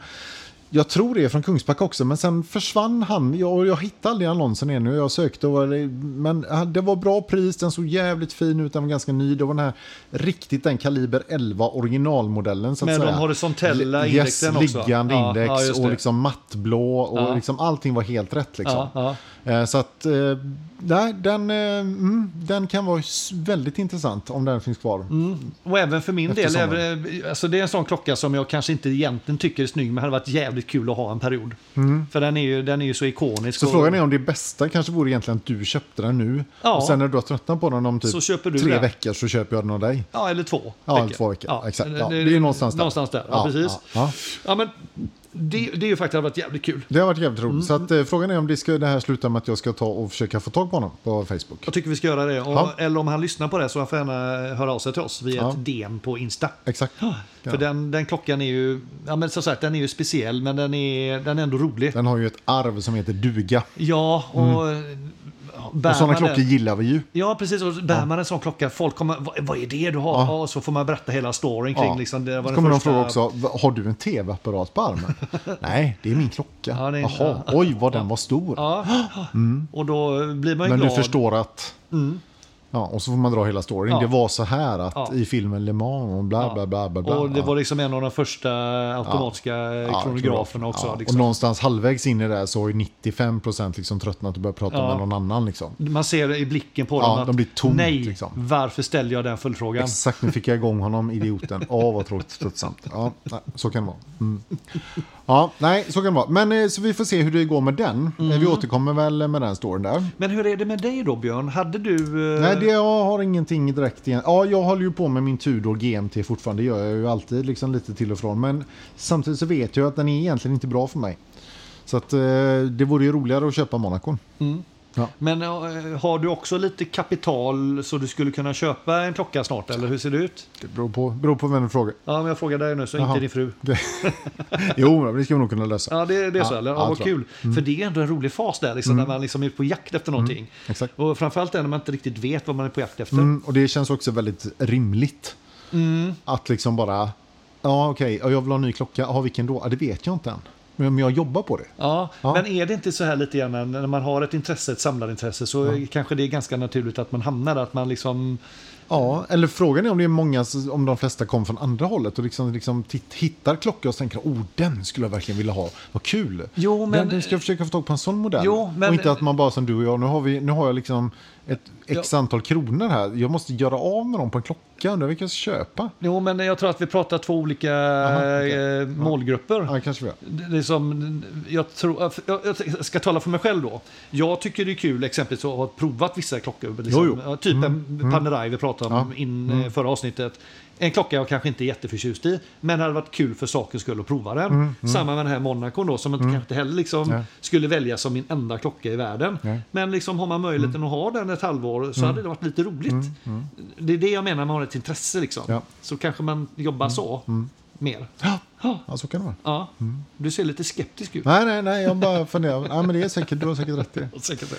[SPEAKER 2] Jag tror det är från Kungsbacka också, men sen försvann han. Jag, och jag hittade aldrig annonsen ännu. och Jag sökte, och, men eh, det var bra pris. Den såg jävligt fin ut. Den var ganska ny. Det var den här riktigt den kaliber 11 originalmodellen. Så att
[SPEAKER 1] Med de
[SPEAKER 2] säga.
[SPEAKER 1] horisontella
[SPEAKER 2] Li-
[SPEAKER 1] indexen
[SPEAKER 2] yes,
[SPEAKER 1] också.
[SPEAKER 2] liggande
[SPEAKER 1] Ja,
[SPEAKER 2] index
[SPEAKER 1] ja, just det.
[SPEAKER 2] och liksom mattblå. Och
[SPEAKER 1] Ja.
[SPEAKER 2] liksom allting var helt rätt. Liksom.
[SPEAKER 1] Ja,
[SPEAKER 2] Eh, Så att eh, nej, den, eh, mm, den kan vara s- väldigt intressant om den finns kvar.
[SPEAKER 1] Mm. Och även för min
[SPEAKER 2] Efter
[SPEAKER 1] del,
[SPEAKER 2] sommaren.
[SPEAKER 1] även, alltså det är en sån klocka som jag kanske inte egentligen tycker är snygg, men det hade varit jävligt kul att ha en period. För den är ju, den är ju så ikonisk.
[SPEAKER 2] Mm. Så
[SPEAKER 1] och-
[SPEAKER 2] frågan är om det bästa kanske vore egentligen att du köpte den nu.
[SPEAKER 1] Ja.
[SPEAKER 2] Och sen när du har tröttnat på den om typ
[SPEAKER 1] Så köper du
[SPEAKER 2] tre
[SPEAKER 1] den.
[SPEAKER 2] veckor så köper jag den av dig.
[SPEAKER 1] Ja, eller två
[SPEAKER 2] Ja, två veckor. Exakt. Ja, det är ju någonstans där.
[SPEAKER 1] Någonstans där, ja, precis. Ja,
[SPEAKER 2] Ja, ja.
[SPEAKER 1] men det, det är ju faktiskt hade varit jävligt kul.
[SPEAKER 2] Det har varit jävligt
[SPEAKER 1] Mm.
[SPEAKER 2] roligt. Så att, eh, frågan är om det, ska, det här slutar med att jag ska ta och försöka få tag på honom på Facebook.
[SPEAKER 1] Jag tycker vi ska göra det. Och,
[SPEAKER 2] Ja.
[SPEAKER 1] Eller om han lyssnar på det så han får gärna höra av sig till oss via
[SPEAKER 2] Ja.
[SPEAKER 1] ett DM på Insta.
[SPEAKER 2] Exakt.
[SPEAKER 1] För den, den klockan är ju, ja men som sagt den är ju speciell men den är, den är ändå rolig.
[SPEAKER 2] Den har ju ett arv som heter duga.
[SPEAKER 1] Ja, och... ja, bär
[SPEAKER 2] Mm. Och sådana
[SPEAKER 1] man den-
[SPEAKER 2] klockor gillar vi ju.
[SPEAKER 1] Ja, precis. Och bär man en sån klocka, folk kommer, vad, vad är det du har?
[SPEAKER 2] Ja.
[SPEAKER 1] Ja. Och så får man berätta hela storyn kring.
[SPEAKER 2] Ja.
[SPEAKER 1] Liksom, det var
[SPEAKER 2] Så
[SPEAKER 1] den
[SPEAKER 2] kommer de
[SPEAKER 1] första-
[SPEAKER 2] fråga också, "Va- har du en tv-apparat på armen? Nej, det är min klocka.
[SPEAKER 1] Ja, det är-
[SPEAKER 2] Jaha, oj vad den var stor.
[SPEAKER 1] Ja, och då blir man ju
[SPEAKER 2] Mm. Men du
[SPEAKER 1] glad. Mm.
[SPEAKER 2] förstår att... Ja, och så får man dra hela storyn.
[SPEAKER 1] Ja.
[SPEAKER 2] Det var så här att
[SPEAKER 1] Ja.
[SPEAKER 2] i filmen Le Mans och bla
[SPEAKER 1] Ja.
[SPEAKER 2] bla bla. bla, bla.
[SPEAKER 1] Och det var liksom en av de första automatiska
[SPEAKER 2] Ja,
[SPEAKER 1] kronograferna också.
[SPEAKER 2] Ja.
[SPEAKER 1] Liksom.
[SPEAKER 2] Och någonstans halvvägs in i det här så har ju 95% liksom tröttnat och börjat prata
[SPEAKER 1] Ja.
[SPEAKER 2] med någon annan. Liksom.
[SPEAKER 1] Man ser det i blicken på
[SPEAKER 2] Ja,
[SPEAKER 1] dem att
[SPEAKER 2] de blir tomt,
[SPEAKER 1] nej,
[SPEAKER 2] liksom."
[SPEAKER 1] varför ställde jag den följdfrågan?
[SPEAKER 2] Exakt, nu fick jag igång honom, idioten. Åh, vad tråkigt tröttsamt. Ja, nej, så kan det vara. Mm. Ja, nej, så kan det vara. Men eh, så vi får se hur det går med den. Eh, Vi återkommer väl med den storyn där.
[SPEAKER 1] Men hur är det med dig då Björn? Hade du... eh,
[SPEAKER 2] Nej, det, jag har ingenting direkt igen. Ja, jag håller ju på med min Tudor GMT fortfarande. Det gör jag ju alltid liksom lite till och från. Men samtidigt så vet jag att den är egentligen inte bra för mig. Så att, eh, det vore ju roligare att köpa Monaco.
[SPEAKER 1] Men eh, har du också lite kapital så du skulle kunna köpa en klocka snart? Eller hur ser det ut?
[SPEAKER 2] Det beror på, beror på vem du frågar.
[SPEAKER 1] Ja, men jag frågar dig nu så
[SPEAKER 2] Jaha.
[SPEAKER 1] inte din fru.
[SPEAKER 2] Det, jo, men det ska vi nog kunna lösa.
[SPEAKER 1] Ja, det, det är så.
[SPEAKER 2] Ja,
[SPEAKER 1] eller?
[SPEAKER 2] ja,
[SPEAKER 1] Ja, vad
[SPEAKER 2] tror Mm. jag.
[SPEAKER 1] kul. För det är ändå en rolig fas där, liksom, när man liksom är på jakt efter någonting.
[SPEAKER 2] Mm. Exakt.
[SPEAKER 1] Och framförallt är när man inte riktigt vet vad man är på jakt efter.
[SPEAKER 2] Mm, och det känns också väldigt rimligt. Att liksom bara, ja okej, ja, jag vill ha en ny klocka. Ja, vilken då? Ja, det vet jag inte än. Men men jag jobbar på det.
[SPEAKER 1] Ja,
[SPEAKER 2] Ja.
[SPEAKER 1] Men är det inte så här lite grann när- när man har ett intresse, ett samlarintresse, så kanske det är ganska naturligt att man hamnar där, att man liksom...
[SPEAKER 2] Ja, eller frågan är om det är många, om de flesta kom från andra hållet och liksom, liksom titt, hittar klockor och tänker oh den skulle jag verkligen vilja ha, vad kul.
[SPEAKER 1] Jo, men-
[SPEAKER 2] den, den ska jag försöka få tag på en sån modell.
[SPEAKER 1] Jo, men-
[SPEAKER 2] Och inte att man bara som du och jag, nu har, vi, nu har jag liksom ett x antal kronor här, jag måste göra av med dem på en klocka, undrar vilka jag ska köpa.
[SPEAKER 1] Jo, men jag tror att vi pratar två olika
[SPEAKER 2] okej.
[SPEAKER 1] eh, målgrupper.
[SPEAKER 2] Ja, det kanske vi gör.
[SPEAKER 1] Det- det är som, jag, tror, jag, jag ska tala för mig själv då. Jag tycker det är kul exempelvis att ha provat vissa klockor. Liksom,
[SPEAKER 2] Jo, Mm, jo.
[SPEAKER 1] Ja, Typ en Panerai vi pratade om in
[SPEAKER 2] Mm.
[SPEAKER 1] eh, förra avsnittet. En klocka jag kanske inte är jätteförtjust i, men det hade varit kul för sakens skull att prova
[SPEAKER 2] Mm,
[SPEAKER 1] den. Samma med den här Monaco då, som man kanske inte heller liksom
[SPEAKER 2] Nej.
[SPEAKER 1] skulle välja som min enda klocka i världen.
[SPEAKER 2] Nej.
[SPEAKER 1] Men liksom har man möjligheten
[SPEAKER 2] Mm.
[SPEAKER 1] att ha den ett halvår så hade det varit lite roligt. Det är det jag menar, man har ett intresse liksom.
[SPEAKER 2] Ja. Mm,
[SPEAKER 1] Så kanske man jobbar så mer. Ja.
[SPEAKER 2] Ja, så kan det vara.
[SPEAKER 1] Ja, Mm. du ser lite skeptisk ut.
[SPEAKER 2] Nej, nej, nej, jag bara funderar. Ja, men det är säkert, du har säkert rätt i det.
[SPEAKER 1] Säkert det.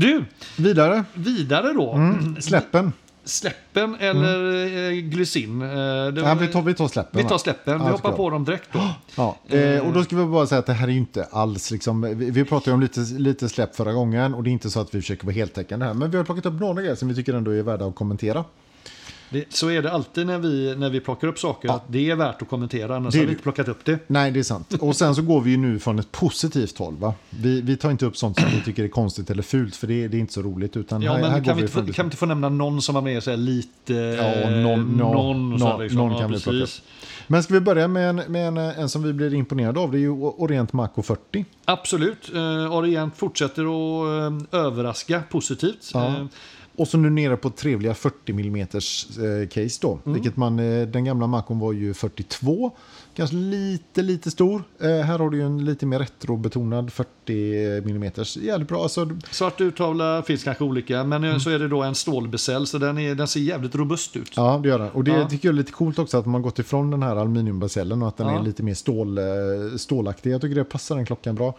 [SPEAKER 1] Du,
[SPEAKER 2] Vidare,
[SPEAKER 1] vidare då.
[SPEAKER 2] Mm. släppen.
[SPEAKER 1] Släppen eller mm. glycin? Eh, det-
[SPEAKER 2] Ja, vi, tar, vi tar släppen.
[SPEAKER 1] vi tar
[SPEAKER 2] va?
[SPEAKER 1] släppen, vi
[SPEAKER 2] Ja,
[SPEAKER 1] hoppar
[SPEAKER 2] såklart.
[SPEAKER 1] på dem direkt då.
[SPEAKER 2] Ja, eh, och då ska vi bara säga att det här är ju inte alls, liksom, vi, vi pratade ju om lite, lite släpp förra gången och det är inte så att vi försöker vara heltäckande här, men vi har plockat upp några grejer som vi tycker ändå är värda att kommentera.
[SPEAKER 1] Det, så är det alltid när vi, när vi plockar upp saker. Att det är värt att kommentera, annars
[SPEAKER 2] Det är
[SPEAKER 1] har
[SPEAKER 2] det.
[SPEAKER 1] vi inte plockat upp det.
[SPEAKER 2] Nej, det är sant. Och sen så går vi ju nu från ett positivt håll. Va? Vi, vi tar inte upp sånt som vi tycker är konstigt eller fult, för det, det är inte så roligt. Utan
[SPEAKER 1] Ja,
[SPEAKER 2] här,
[SPEAKER 1] men
[SPEAKER 2] här går
[SPEAKER 1] kan vi, inte få,
[SPEAKER 2] från det-
[SPEAKER 1] kan vi inte få nämna någon som var med så här lite...
[SPEAKER 2] Ja, och någon, någon, Eh, någon,
[SPEAKER 1] så här
[SPEAKER 2] någon,
[SPEAKER 1] liksom. Ja,
[SPEAKER 2] kan vi plocka upp.
[SPEAKER 1] precis.
[SPEAKER 2] Men ska vi börja med, en, med en, en som vi blir imponerade av? Det är ju Orient Maco 40.
[SPEAKER 1] Absolut. Eh, Orient fortsätter att eh, överraska positivt.
[SPEAKER 2] Ja.
[SPEAKER 1] Eh,
[SPEAKER 2] Och så nu nere på trevliga 40 mm eh, case då. Vilket man, eh, den gamla Macon var ju 42. Kanske lite, lite stor. Eh, här har du ju en lite mer retrobetonad 40 mm. Jävligt bra. Alltså,
[SPEAKER 1] Svart urtavla finns kanske olika, men
[SPEAKER 2] Mm.
[SPEAKER 1] eh, så är det då en stålbesäll, så den, är, den ser jävligt robust ut.
[SPEAKER 2] ja, det gör den. Och det
[SPEAKER 1] Ja.
[SPEAKER 2] tycker jag är lite coolt också att man har gått ifrån den här aluminiumbasellen och att den
[SPEAKER 1] Ja.
[SPEAKER 2] är lite mer stål, eh, stålaktig. Jag tycker det passar den klockan bra.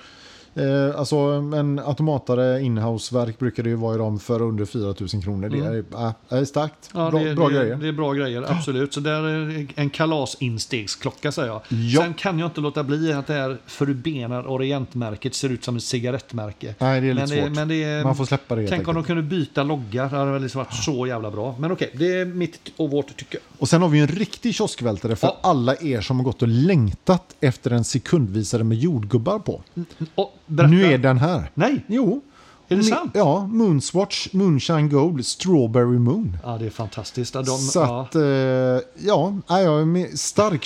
[SPEAKER 2] Eh, alltså en automatare inhouse-verk brukar det ju vara i dem för under 4 000 kronor. Det är, ah, det är starkt.
[SPEAKER 1] Mm. Ja,
[SPEAKER 2] bra
[SPEAKER 1] det, är-
[SPEAKER 2] bra
[SPEAKER 1] det, är-
[SPEAKER 2] grejer.
[SPEAKER 1] Det är bra grejer, absolut. Så där är en kalasinstegsklocka säger jag.
[SPEAKER 2] Ja.
[SPEAKER 1] Sen kan jag inte låta bli att det här förbenade orientmärket ser ut som ett cigarettmärke.
[SPEAKER 2] Nej, det är
[SPEAKER 1] men
[SPEAKER 2] lite
[SPEAKER 1] det,
[SPEAKER 2] svårt.
[SPEAKER 1] Men det är,
[SPEAKER 2] Man får släppa det helt
[SPEAKER 1] Tänk om de
[SPEAKER 2] enkelt.
[SPEAKER 1] kunde byta logga, det hade väl liksom varit så jävla bra. Men okej, det är mitt och vårt tycke.
[SPEAKER 2] Och sen har vi ju en riktig kioskvältare för
[SPEAKER 1] Ja.
[SPEAKER 2] alla er som har gått och längtat efter en sekundvisare med jordgubbar på.
[SPEAKER 1] Och, berätta.
[SPEAKER 2] Nu är den här.
[SPEAKER 1] Nej!
[SPEAKER 2] Jo.
[SPEAKER 1] Är det
[SPEAKER 2] Ni-
[SPEAKER 1] sant?
[SPEAKER 2] Ja, Moonswatch, Moonshine Gold, Strawberry Moon.
[SPEAKER 1] Ja, det är fantastiskt. Ja, De,
[SPEAKER 2] Så
[SPEAKER 1] ja.
[SPEAKER 2] att, eh, ja, nej, jag är med stark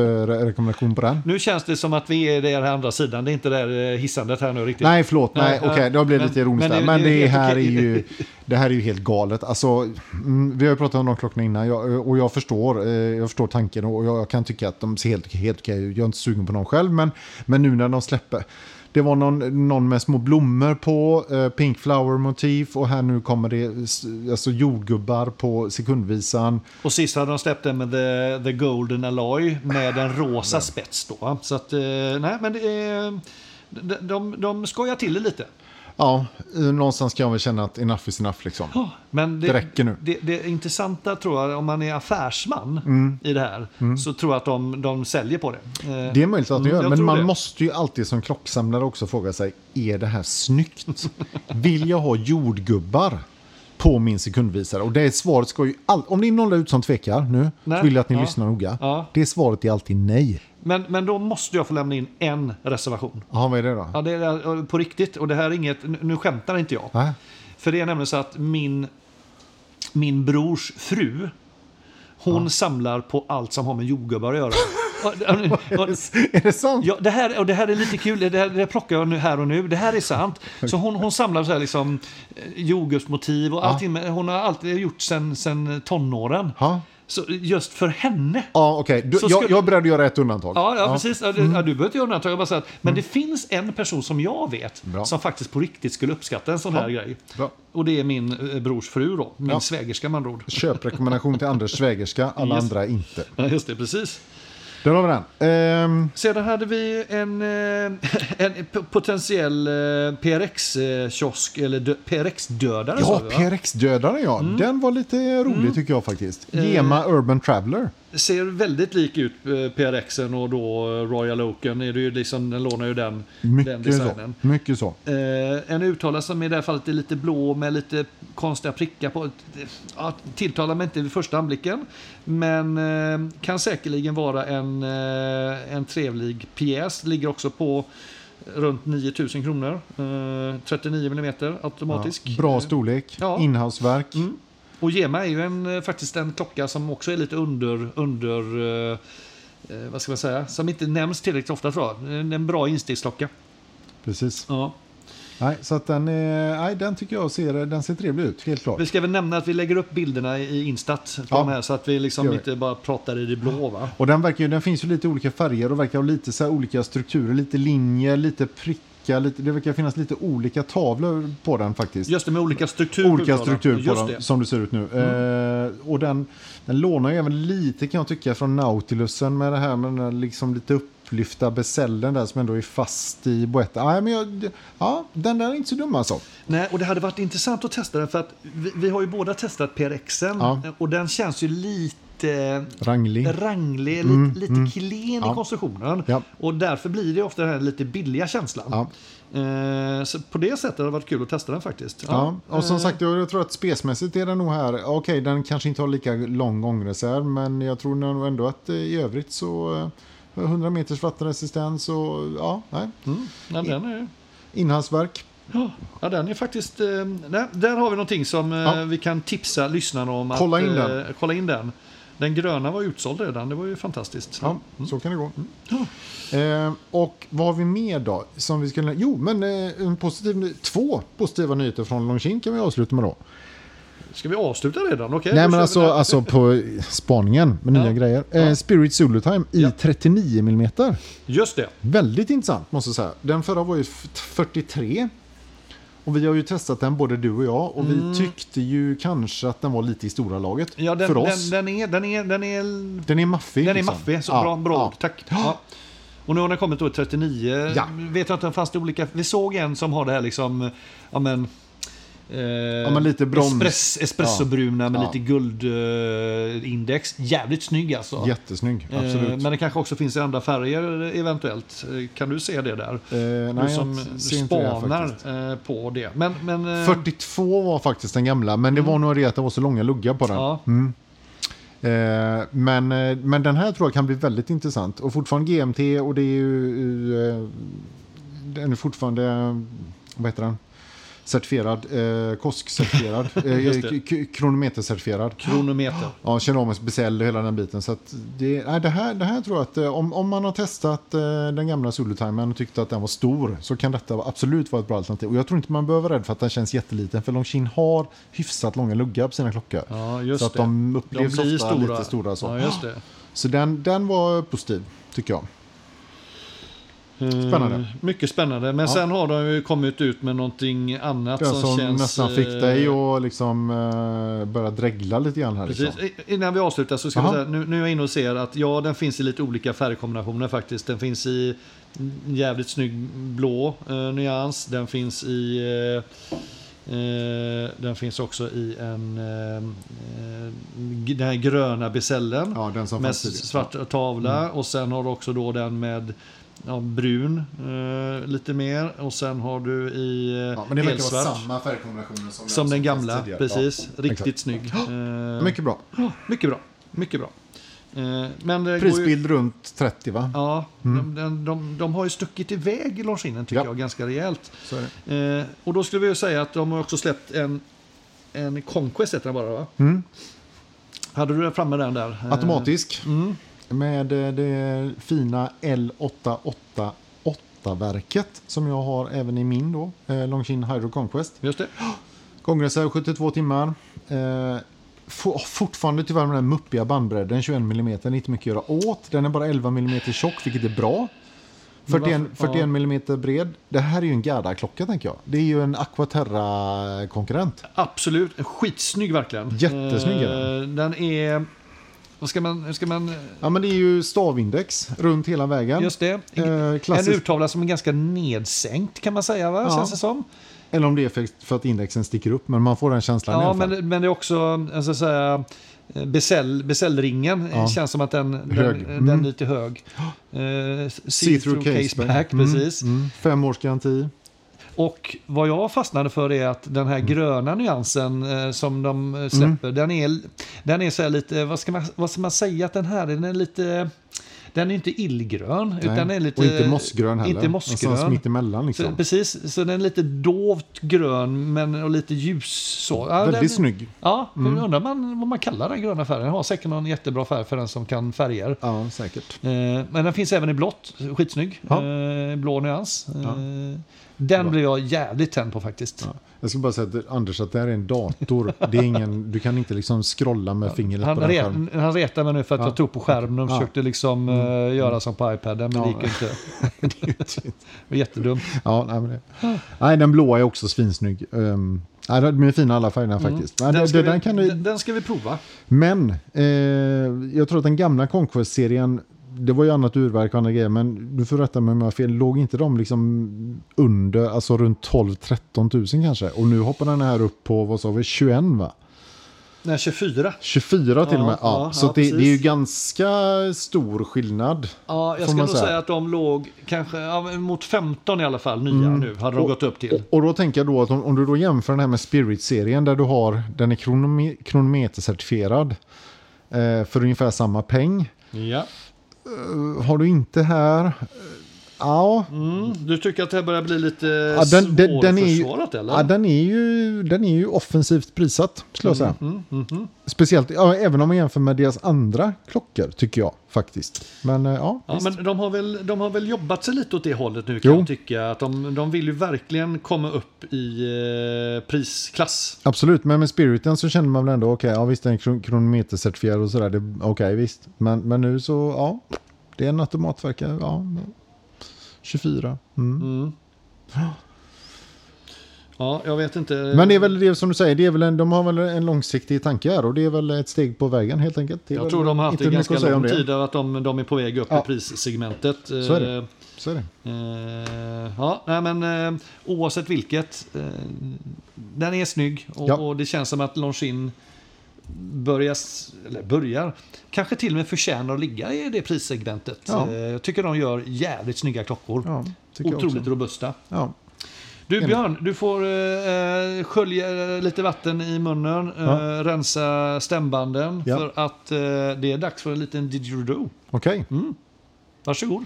[SPEAKER 2] köprekommendation på den.
[SPEAKER 1] Nu känns det som att vi är där här andra sidan. Det är inte det där eh, hissandet här nu riktigt.
[SPEAKER 2] Nej, förlåt. Nej,
[SPEAKER 1] Nej,
[SPEAKER 2] okej,
[SPEAKER 1] ja.
[SPEAKER 2] det har blivit
[SPEAKER 1] Men-
[SPEAKER 2] lite ironiskt
[SPEAKER 1] men
[SPEAKER 2] där.
[SPEAKER 1] det-
[SPEAKER 2] Men
[SPEAKER 1] det är
[SPEAKER 2] det
[SPEAKER 1] helt
[SPEAKER 2] här är
[SPEAKER 1] okej.
[SPEAKER 2] ju, det här är ju helt galet. Alltså, mm, vi har ju pratat om de klockorna innan jag, och jag förstår, eh, jag förstår tanken och jag, jag kan tycka att de ser helt, helt okej ut. Jag är inte sugen på någon själv, men, men nu när de släpper. Det var någon, någon med små blommor på, eh, pink flower motiv och här nu kommer det s- alltså jordgubbar på sekundvisan.
[SPEAKER 1] Och sist hade de släppt den med The, the Golden Alloy med en rosa spets då. Så att, eh, nej men det är, de, de, de skojar till det lite.
[SPEAKER 2] Ja, eh, någonstans kan jag väl känna att enough is enough liksom.
[SPEAKER 1] Men det,
[SPEAKER 2] Det räcker nu.
[SPEAKER 1] Det, det intressanta tror jag, om man är affärsman
[SPEAKER 2] Mm.
[SPEAKER 1] i det här, så tror jag att de, de säljer på det. Eh,
[SPEAKER 2] Det är möjligt att det
[SPEAKER 1] Mm,
[SPEAKER 2] gör,
[SPEAKER 1] jag
[SPEAKER 2] men
[SPEAKER 1] tror
[SPEAKER 2] man
[SPEAKER 1] det.
[SPEAKER 2] måste ju alltid som klocksamlare också fråga sig, är det här snyggt? Vill jag ha jordgubbar på min sekundvisare? Och det är svaret ska ju all- Om det är någon där ute som tvekar nu,
[SPEAKER 1] Nej.
[SPEAKER 2] så vill jag att ni
[SPEAKER 1] Ja.
[SPEAKER 2] lyssnar noga.
[SPEAKER 1] Ja.
[SPEAKER 2] Det svaret är alltid nej.
[SPEAKER 1] Men, men då måste jag få lämna in en reservation.
[SPEAKER 2] Jaha, vad är det då?
[SPEAKER 1] Ja, det är eh, på riktigt, och det här är inget, nu- nu skämtar inte jag.
[SPEAKER 2] Va?
[SPEAKER 1] För det är nämligen så att min, min brors fru, hon samlar på allt som har med jordgubbar att göra. Och- och- och-
[SPEAKER 2] Är det sant?
[SPEAKER 1] Ja, det här, och det här är lite kul, det här, det här plockar jag nu här och nu, det här är sant. Så hon, hon samlar så här liksom eh, jordgubbsmotiv och allting, men hon har alltid gjort sen, sen tonåren.
[SPEAKER 2] Ja,
[SPEAKER 1] Så just för henne.
[SPEAKER 2] ja okej. Du-
[SPEAKER 1] Så
[SPEAKER 2] Jag,
[SPEAKER 1] skulle-
[SPEAKER 2] jag är beredd att göra ett undantag.
[SPEAKER 1] Ja, ja, Mm. precis. Ja, du, ja, du behöver inte göra undantag. Jag bara säger att, men det finns en person som jag vet
[SPEAKER 2] Bra.
[SPEAKER 1] som faktiskt på riktigt skulle uppskatta en sån här grej.
[SPEAKER 2] Bra.
[SPEAKER 1] Och det är min eh, brors fru då, min
[SPEAKER 2] Ja.
[SPEAKER 1] svägerska med andra ord.
[SPEAKER 2] Köprekommendation till Anders svägerska, alla
[SPEAKER 1] Yes.
[SPEAKER 2] andra inte.
[SPEAKER 1] Ja, just det, precis.
[SPEAKER 2] Där har vi den. Ehm,
[SPEAKER 1] Sedan hade vi en, eh, en p- potentiell eh, PRX-kiosk, eller dö- PRX-dödare sa
[SPEAKER 2] ja,
[SPEAKER 1] vi, va? Mm.
[SPEAKER 2] PRX-dödaren ja. Den var lite rolig tycker jag faktiskt.
[SPEAKER 1] Eh,
[SPEAKER 2] Gema Urban Traveler.
[SPEAKER 1] ser väldigt lik ut eh, PRXen och då eh, Royal Oaken. Är det ju liksom, den lånar ju den, den
[SPEAKER 2] Mycket så.
[SPEAKER 1] designen.
[SPEAKER 2] Mycket så.
[SPEAKER 1] Eh, en uttalare som i det här fallet är lite blå med lite konstiga prickar på. Ja, tilltalar mig inte vid första anblicken. Men eh, kan säkerligen vara en, eh, en trevlig pjäs. Ligger också på runt 9000 kronor. Eh, 39 mm automatisk.
[SPEAKER 2] Ja, bra storlek,
[SPEAKER 1] Ja. Mm.
[SPEAKER 2] inhouseverk.
[SPEAKER 1] Och Gema är ju en, eh, faktiskt en klocka som också är lite under, under eh, eh, vad ska man säga, som inte nämns tillräckligt ofta tror jag. En, en bra instegsklocka.
[SPEAKER 2] Precis.
[SPEAKER 1] Ja.
[SPEAKER 2] Nej, så att den, är, nej, den tycker jag ser, den ser trevlig ut, helt klart.
[SPEAKER 1] Vi ska väl nämna att vi lägger upp bilderna i- i Instat på
[SPEAKER 2] Ja,
[SPEAKER 1] de här så att vi liksom
[SPEAKER 2] gör vi.
[SPEAKER 1] inte bara pratar i det blå va?
[SPEAKER 2] Och den, verkar ju, den finns ju lite olika färger och verkar ha lite så här olika strukturer, lite linjer, lite prickar. Lite, det verkar finnas lite olika tavlor på den faktiskt.
[SPEAKER 1] Just det, med olika strukturer. på
[SPEAKER 2] olika
[SPEAKER 1] uttalarna.
[SPEAKER 2] strukturer på
[SPEAKER 1] Typ Just
[SPEAKER 2] dem
[SPEAKER 1] det.
[SPEAKER 2] som det ser ut nu. Eh, och den, den lånar ju även lite kan jag tycka från Nautilusen med det här med den här liksom lite upplyfta besällen där som ändå är fast i boetten. Nej, men jag, ja, den där är inte så dum alltså.
[SPEAKER 1] Nej, och det hade varit intressant att testa den för att vi, vi har ju båda testat PRXen
[SPEAKER 2] Ja.
[SPEAKER 1] eh, och den känns ju lite
[SPEAKER 2] Rangling.
[SPEAKER 1] ranglig, lite, lite klen i
[SPEAKER 2] Mm, Ja.
[SPEAKER 1] konstruktionen.
[SPEAKER 2] Ja.
[SPEAKER 1] Och därför blir det ofta den här lite billiga känslan.
[SPEAKER 2] Ja.
[SPEAKER 1] Eh, så på det sättet har det varit kul att testa den faktiskt. Eh,
[SPEAKER 2] Ja, och som sagt, jag jag tror att spesmässigt är den nog här. Okej, den kanske inte har lika lång gångreserv, men jag tror nog ändå att eh, i övrigt så eh, 100 meters vattenresistens och ja, nej.
[SPEAKER 1] mm. Ja, den är,
[SPEAKER 2] Inhandsverk.
[SPEAKER 1] ja, ja, den är faktiskt... Eh, nej, där har vi någonting som eh,
[SPEAKER 2] Ja.
[SPEAKER 1] vi kan tipsa lyssnarna om.
[SPEAKER 2] Kolla
[SPEAKER 1] att,
[SPEAKER 2] in
[SPEAKER 1] eh,
[SPEAKER 2] den.
[SPEAKER 1] kolla in den. Den gröna var utsåld redan, det var ju fantastiskt.
[SPEAKER 2] Ja, Mm. så kan det gå. Eh, och vad har vi mer då? Som vi skulle... Jo, men eh, en positiv... ny- två positiva nyheter från Longines kan vi avsluta med då.
[SPEAKER 1] Ska vi avsluta redan? Okej,
[SPEAKER 2] Nej,
[SPEAKER 1] då
[SPEAKER 2] men
[SPEAKER 1] kör
[SPEAKER 2] alltså,
[SPEAKER 1] vi den.
[SPEAKER 2] alltså på spaningen med
[SPEAKER 1] Ja.
[SPEAKER 2] nya grejer. Eh, Spirit Zulu Time i
[SPEAKER 1] Ja.
[SPEAKER 2] 39 mm.
[SPEAKER 1] Just det.
[SPEAKER 2] Väldigt intressant måste jag säga. Den förra var ju f- 43. Och vi har ju testat den både du och jag och vi tyckte ju kanske att den var lite i stora laget
[SPEAKER 1] Mm. Ja, den,
[SPEAKER 2] för oss.
[SPEAKER 1] Den, den, är, den, är, den är
[SPEAKER 2] Den är maffig.
[SPEAKER 1] Den är
[SPEAKER 2] liksom.
[SPEAKER 1] maffig, så
[SPEAKER 2] Ja,
[SPEAKER 1] bra, bra
[SPEAKER 2] ja.
[SPEAKER 1] ord. Tack. Ja. Och nu har den kommit då i 39.
[SPEAKER 2] Ja.
[SPEAKER 1] Vet jag inte, fanns det olika... Vi såg en som har det här liksom... Ja men... Eh, ja,
[SPEAKER 2] men lite brons.
[SPEAKER 1] Espress, espressobruna med
[SPEAKER 2] Ja.
[SPEAKER 1] lite guldindex. Jävligt snygg alltså.
[SPEAKER 2] Jättesnygg,
[SPEAKER 1] Eh,
[SPEAKER 2] absolut.
[SPEAKER 1] Men det kanske också finns i andra färger eventuellt. Eh, Kan du se det där?
[SPEAKER 2] Eh,
[SPEAKER 1] du
[SPEAKER 2] nej,
[SPEAKER 1] som
[SPEAKER 2] jag ser inte det här
[SPEAKER 1] spanar
[SPEAKER 2] faktiskt.
[SPEAKER 1] eh, på det. Men, men, eh,
[SPEAKER 2] 42 var faktiskt den gamla, men det var nog det att det var så långa luggar på den.
[SPEAKER 1] Mm.
[SPEAKER 2] Mm.
[SPEAKER 1] ja.
[SPEAKER 2] Eh, men, eh, men den här tror jag kan bli väldigt intressant. Och fortfarande GMT och det är ju... eh, Den är fortfarande... eh, Vad heter den? Certifierad. Eh, KOSK-certifierad.
[SPEAKER 1] Just det.
[SPEAKER 2] eh, k- kronometercertifierad.
[SPEAKER 1] Kronometer.
[SPEAKER 2] Ja, keramisk bezel och hela den biten. Så att det, nej, det, här, det här tror jag att eh, om, om man har testat eh, den gamla Zulu-timern och tyckte att den var stor så kan detta absolut vara ett bra alternativ. Och jag tror inte man behöver vara rädd för att den känns jätteliten för Longines har hyfsat långa luggar på sina klockor.
[SPEAKER 1] Ja, just
[SPEAKER 2] så att
[SPEAKER 1] det.
[SPEAKER 2] de upplevs
[SPEAKER 1] blir
[SPEAKER 2] ofta lite stora. Så,
[SPEAKER 1] Ja, just det.
[SPEAKER 2] så den, den var positiv tycker jag. Spännande.
[SPEAKER 1] Eh, Mycket spännande. Men
[SPEAKER 2] Ja.
[SPEAKER 1] sen har de ju kommit ut med någonting annat
[SPEAKER 2] Den
[SPEAKER 1] som,
[SPEAKER 2] som
[SPEAKER 1] känns...
[SPEAKER 2] nästan fick
[SPEAKER 1] eh,
[SPEAKER 2] dig att liksom, eh, börja dregla lite grann här.
[SPEAKER 1] Precis.
[SPEAKER 2] Liksom.
[SPEAKER 1] I- Innan vi avslutar så ska vi
[SPEAKER 2] Aha.
[SPEAKER 1] säga, nu, nu är jag inne och ser att ja, den finns i lite olika färgkombinationer faktiskt. Den finns i en jävligt snygg blå eh, nyans. Den finns i... Eh, eh, den finns också i en... Eh, eh, g- den här gröna besällen.
[SPEAKER 2] Ja, den som
[SPEAKER 1] med
[SPEAKER 2] fanns tidigare. Mm.
[SPEAKER 1] svart tavla och sen har du också då den med ja, brun eh, lite mer och sen har du i eh,
[SPEAKER 2] Ja, men det verkar vara
[SPEAKER 1] helsvart
[SPEAKER 2] samma färgkombinationer som,
[SPEAKER 1] som den
[SPEAKER 2] fanns
[SPEAKER 1] gamla.
[SPEAKER 2] tidigare.
[SPEAKER 1] Precis, riktigt
[SPEAKER 2] exakt.
[SPEAKER 1] snygg.
[SPEAKER 2] Ja.
[SPEAKER 1] Eh,
[SPEAKER 2] Mycket bra.
[SPEAKER 1] Ja, mycket bra. Mycket bra. Eh, Men det går ju,
[SPEAKER 2] Prisbild runt 30 va?
[SPEAKER 1] ja, de, de, de, de har ju stuckit iväg longinen tycker
[SPEAKER 2] Ja.
[SPEAKER 1] jag ganska rejält.
[SPEAKER 2] Så är det.
[SPEAKER 1] Eh, och då skulle vi ju säga att de har också släppt en, en Conquest heter den bara va?
[SPEAKER 2] Mm.
[SPEAKER 1] Hade du den framme den där? Eh,
[SPEAKER 2] Automatisk.
[SPEAKER 1] Mm.
[SPEAKER 2] Med eh, det fina L888-verket som jag har även i min då. eh, Longines Hydro Conquest.
[SPEAKER 1] Just det.
[SPEAKER 2] Gångreserv 72 timmar. Eh, for- Fortfarande tyvärr med den här muppiga bandbredden, 21 mm, det är inte mycket att göra åt. Den är bara 11 mm tjock, vilket är bra.
[SPEAKER 1] Men
[SPEAKER 2] 41,
[SPEAKER 1] varför-
[SPEAKER 2] 41 mm bred. Det här är ju en Garda-klocka tänker jag. Det är ju en Aquaterra-konkurrent.
[SPEAKER 1] Absolut, skitsnygg verkligen.
[SPEAKER 2] Jättesnygg är
[SPEAKER 1] den. Den är... Vad ska man... hur Ska man
[SPEAKER 2] Ja men det är ju stavindex runt hela vägen.
[SPEAKER 1] just det.
[SPEAKER 2] Eh,
[SPEAKER 1] en
[SPEAKER 2] klassisk-
[SPEAKER 1] urtavla som är ganska nedsänkt kan man säga va?
[SPEAKER 2] Ja.
[SPEAKER 1] Känns det som.
[SPEAKER 2] Eller om det är för, för att indexen sticker upp, men man får den känslan i
[SPEAKER 1] Ja,
[SPEAKER 2] alla fall.
[SPEAKER 1] men, men det är också, jag ska säga, besäll, besällringen eh,
[SPEAKER 2] Ja.
[SPEAKER 1] känns som att den, den,
[SPEAKER 2] Hög.
[SPEAKER 1] den
[SPEAKER 2] Mm.
[SPEAKER 1] är lite hög. Eh, See-through case back,
[SPEAKER 2] Mm,
[SPEAKER 1] precis.
[SPEAKER 2] Mm. Fem års garanti.
[SPEAKER 1] Och vad jag fastnade för är att den här
[SPEAKER 2] Mm.
[SPEAKER 1] gröna nyansen eh, som de eh, släpper, den är, den är så här lite, vad ska, man, vad ska man säga att den här är? Den är lite... Den är inte illgrön, utan den är lite...
[SPEAKER 2] och inte mossgrön heller.
[SPEAKER 1] Inte mossgrön.
[SPEAKER 2] Någonstans mitt emellan
[SPEAKER 1] Så,
[SPEAKER 2] liksom.
[SPEAKER 1] Precis, så den är lite dovt grön men och lite ljus så. Ja,
[SPEAKER 2] Väldigt
[SPEAKER 1] den,
[SPEAKER 2] snygg.
[SPEAKER 1] Ja,
[SPEAKER 2] Mm.
[SPEAKER 1] men undrar man vad man kallar den gröna färgen. Den har säkert någon jättebra färg för den som kan färger.
[SPEAKER 2] Ja, säkert.
[SPEAKER 1] Eh, Men den finns även i blått, skitsnygg.
[SPEAKER 2] Ja.
[SPEAKER 1] Eh, Blå nyans. Eh,
[SPEAKER 2] Ja.
[SPEAKER 1] Den blev jag jävligt tänd på faktiskt.
[SPEAKER 2] Ja. Jag ska bara säga att Anders, att det här är en dator. Det är ingen, du kan inte liksom scrolla med fingret
[SPEAKER 1] Han,
[SPEAKER 2] på den
[SPEAKER 1] re,
[SPEAKER 2] skärmen.
[SPEAKER 1] han retade mig nu för att
[SPEAKER 2] Ja.
[SPEAKER 1] jag tog på skärmen och
[SPEAKER 2] Ja. Mm.
[SPEAKER 1] försökte liksom eh, göra som på iPaden, men det
[SPEAKER 2] Ja.
[SPEAKER 1] gick ju inte.
[SPEAKER 2] Det är ju inte-
[SPEAKER 1] Det var jättedumt.
[SPEAKER 2] ja, nej, men det. nej, den blåa är också svinsnygg. Um, nej, de är fina alla färgerna faktiskt. Nej,
[SPEAKER 1] Mm. Den
[SPEAKER 2] den,
[SPEAKER 1] ska,
[SPEAKER 2] det,
[SPEAKER 1] vi,
[SPEAKER 2] den kan du,
[SPEAKER 1] den, den ska vi prova.
[SPEAKER 2] Men eh, jag tror att den gamla Conquest-serien, det var ju annat urverk och andra grejer, men du får rätta mig om jag har fel, låg inte de liksom under, alltså runt 12-13 000 kanske? Och nu hoppar den här upp på, vad sa vi, 21 va?
[SPEAKER 1] Nej, 24.
[SPEAKER 2] 24 till
[SPEAKER 1] Ja,
[SPEAKER 2] och med. Ja,
[SPEAKER 1] ja,
[SPEAKER 2] så
[SPEAKER 1] ja,
[SPEAKER 2] att det, det är ju
[SPEAKER 1] precis.
[SPEAKER 2] ganska stor skillnad.
[SPEAKER 1] Ja, jag
[SPEAKER 2] Får
[SPEAKER 1] ska
[SPEAKER 2] man
[SPEAKER 1] nog
[SPEAKER 2] säga.
[SPEAKER 1] säga att de låg kanske ja, men mot 15 i alla fall, nya
[SPEAKER 2] Mm.
[SPEAKER 1] nu, hade de
[SPEAKER 2] Och-
[SPEAKER 1] gått upp till.
[SPEAKER 2] Och då tänker jag då att om, om du då jämför den här med Spirit-serien där du har, den är kronome- kronometercertifierad eh, för ungefär samma peng.
[SPEAKER 1] Ja.
[SPEAKER 2] Har du inte här, eh, ja,
[SPEAKER 1] Mm, du tycker att det här börjar bli lite
[SPEAKER 2] Ja, den, den, den, är ju,
[SPEAKER 1] svårförsvarat eller?
[SPEAKER 2] ja, den, är ju, den är ju offensivt prissatt, skulle jag säga.
[SPEAKER 1] Mm, mm, mm.
[SPEAKER 2] Speciellt, ja, även om man jämför med deras andra klockor, tycker jag faktiskt. Men eh, ja,
[SPEAKER 1] Ja,
[SPEAKER 2] visst.
[SPEAKER 1] men de har, väl, de har väl jobbat sig lite åt det hållet nu kan
[SPEAKER 2] Jo.
[SPEAKER 1] jag tycka. Att de, de vill ju verkligen komma upp i eh, prisklass.
[SPEAKER 2] absolut. Men med Spiriten så känner man väl ändå, okej, ja visst, den är kron- kronometercertifierad och sådär. det- Okej, visst. Men, men nu så, ja, det är en automatverkare, ja. 24. Mm.
[SPEAKER 1] Mm. Ja, jag vet inte.
[SPEAKER 2] Men det är väl det som du säger, det är väl en, de har väl en långsiktig tanke här och det är väl ett steg på vägen helt enkelt. Det är
[SPEAKER 1] jag
[SPEAKER 2] väl
[SPEAKER 1] tror de har haft
[SPEAKER 2] inte
[SPEAKER 1] det
[SPEAKER 2] mycket
[SPEAKER 1] ganska
[SPEAKER 2] att säga om
[SPEAKER 1] lång
[SPEAKER 2] det.
[SPEAKER 1] tid där att de, de är på väg upp
[SPEAKER 2] Ja.
[SPEAKER 1] i prissegmentet.
[SPEAKER 2] Så är det. Så är det.
[SPEAKER 1] Eh, ja, nej, men eh, oavsett vilket. Eh, den är snygg och,
[SPEAKER 2] Ja.
[SPEAKER 1] och det känns som att Longines börjar, s- eller börjar, kanske till och med förtjänar att ligga i det prissegmentet.
[SPEAKER 2] Ja.
[SPEAKER 1] Eh, jag tycker de gör jävligt snygga klockor.
[SPEAKER 2] Ja, tycker jag
[SPEAKER 1] Otroligt
[SPEAKER 2] också.
[SPEAKER 1] robusta.
[SPEAKER 2] Ja.
[SPEAKER 1] Du
[SPEAKER 2] Enig.
[SPEAKER 1] Björn, du får eh, skölja lite vatten i munnen, eh,
[SPEAKER 2] Ja.
[SPEAKER 1] rensa stämbanden
[SPEAKER 2] Ja.
[SPEAKER 1] för att eh, det är dags för en liten didgeridoo.
[SPEAKER 2] Okej.
[SPEAKER 1] Varsågod.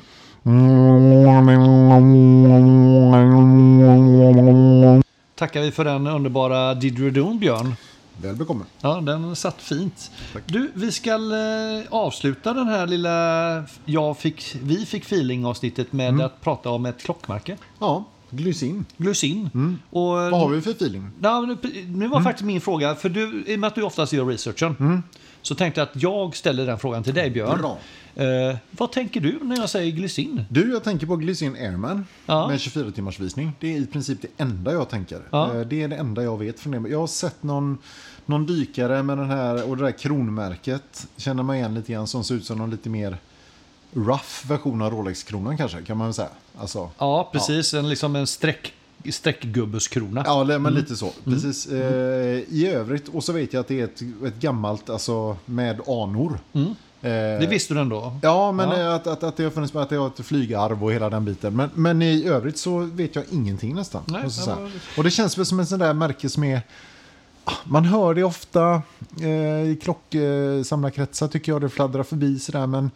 [SPEAKER 1] Tackar vi för den underbara didgeridoon Björn.
[SPEAKER 2] Väl bekomme.
[SPEAKER 1] Ja, den satt fint.
[SPEAKER 2] Tack.
[SPEAKER 1] Du, vi ska eh, avsluta den här lilla jag fick, vi fick feeling-avsnittet med
[SPEAKER 2] Mm.
[SPEAKER 1] att prata om ett klockmärke.
[SPEAKER 2] Ja, glycin.
[SPEAKER 1] Glusin. Och,
[SPEAKER 2] Mm. Vad har vi Mm. för feeling?
[SPEAKER 1] Ja, men nu, nu var faktiskt min fråga, för du, i och med att du oftast gör researchen, så tänkte jag att jag ställer den frågan till dig Björn.
[SPEAKER 2] Mm. Bra.
[SPEAKER 1] Eh, vad tänker du när jag säger glycin?
[SPEAKER 2] Du, jag tänker på Glycin Airman
[SPEAKER 1] Ja.
[SPEAKER 2] med 24 timmars visning. Det är i princip det enda jag tänker.
[SPEAKER 1] Ja.
[SPEAKER 2] Eh, Det är det enda jag vet från det. Jag har sett någon, någon dykare med den här och det där kronmärket. Känner man igen lite grann som ser ut som någon lite mer rough version av Rolex-kronan kanske, kan man väl säga. Alltså,
[SPEAKER 1] Ja, precis. En, liksom en streck, streckgubbeskrona.
[SPEAKER 2] Ja, eller- men lite
[SPEAKER 1] Mm.
[SPEAKER 2] så. Precis. Eh, I övrigt, och så vet jag att det är ett, ett gammalt, alltså med anor. Eh,
[SPEAKER 1] Mm. Det visste du ändå?
[SPEAKER 2] Ja, men
[SPEAKER 1] Ja.
[SPEAKER 2] eh, Att, att, att det har funnits med att det har ett flygarv och hela den biten. Men, men i övrigt så vet jag ingenting nästan.
[SPEAKER 1] Nej,
[SPEAKER 2] måste jag
[SPEAKER 1] det
[SPEAKER 2] säga.
[SPEAKER 1] var-
[SPEAKER 2] Och det känns väl som en sån där märke som är... ah, Man hör det ofta eh, i klocksamlarkretsar tycker jag det fladdrar förbi sådär. Men,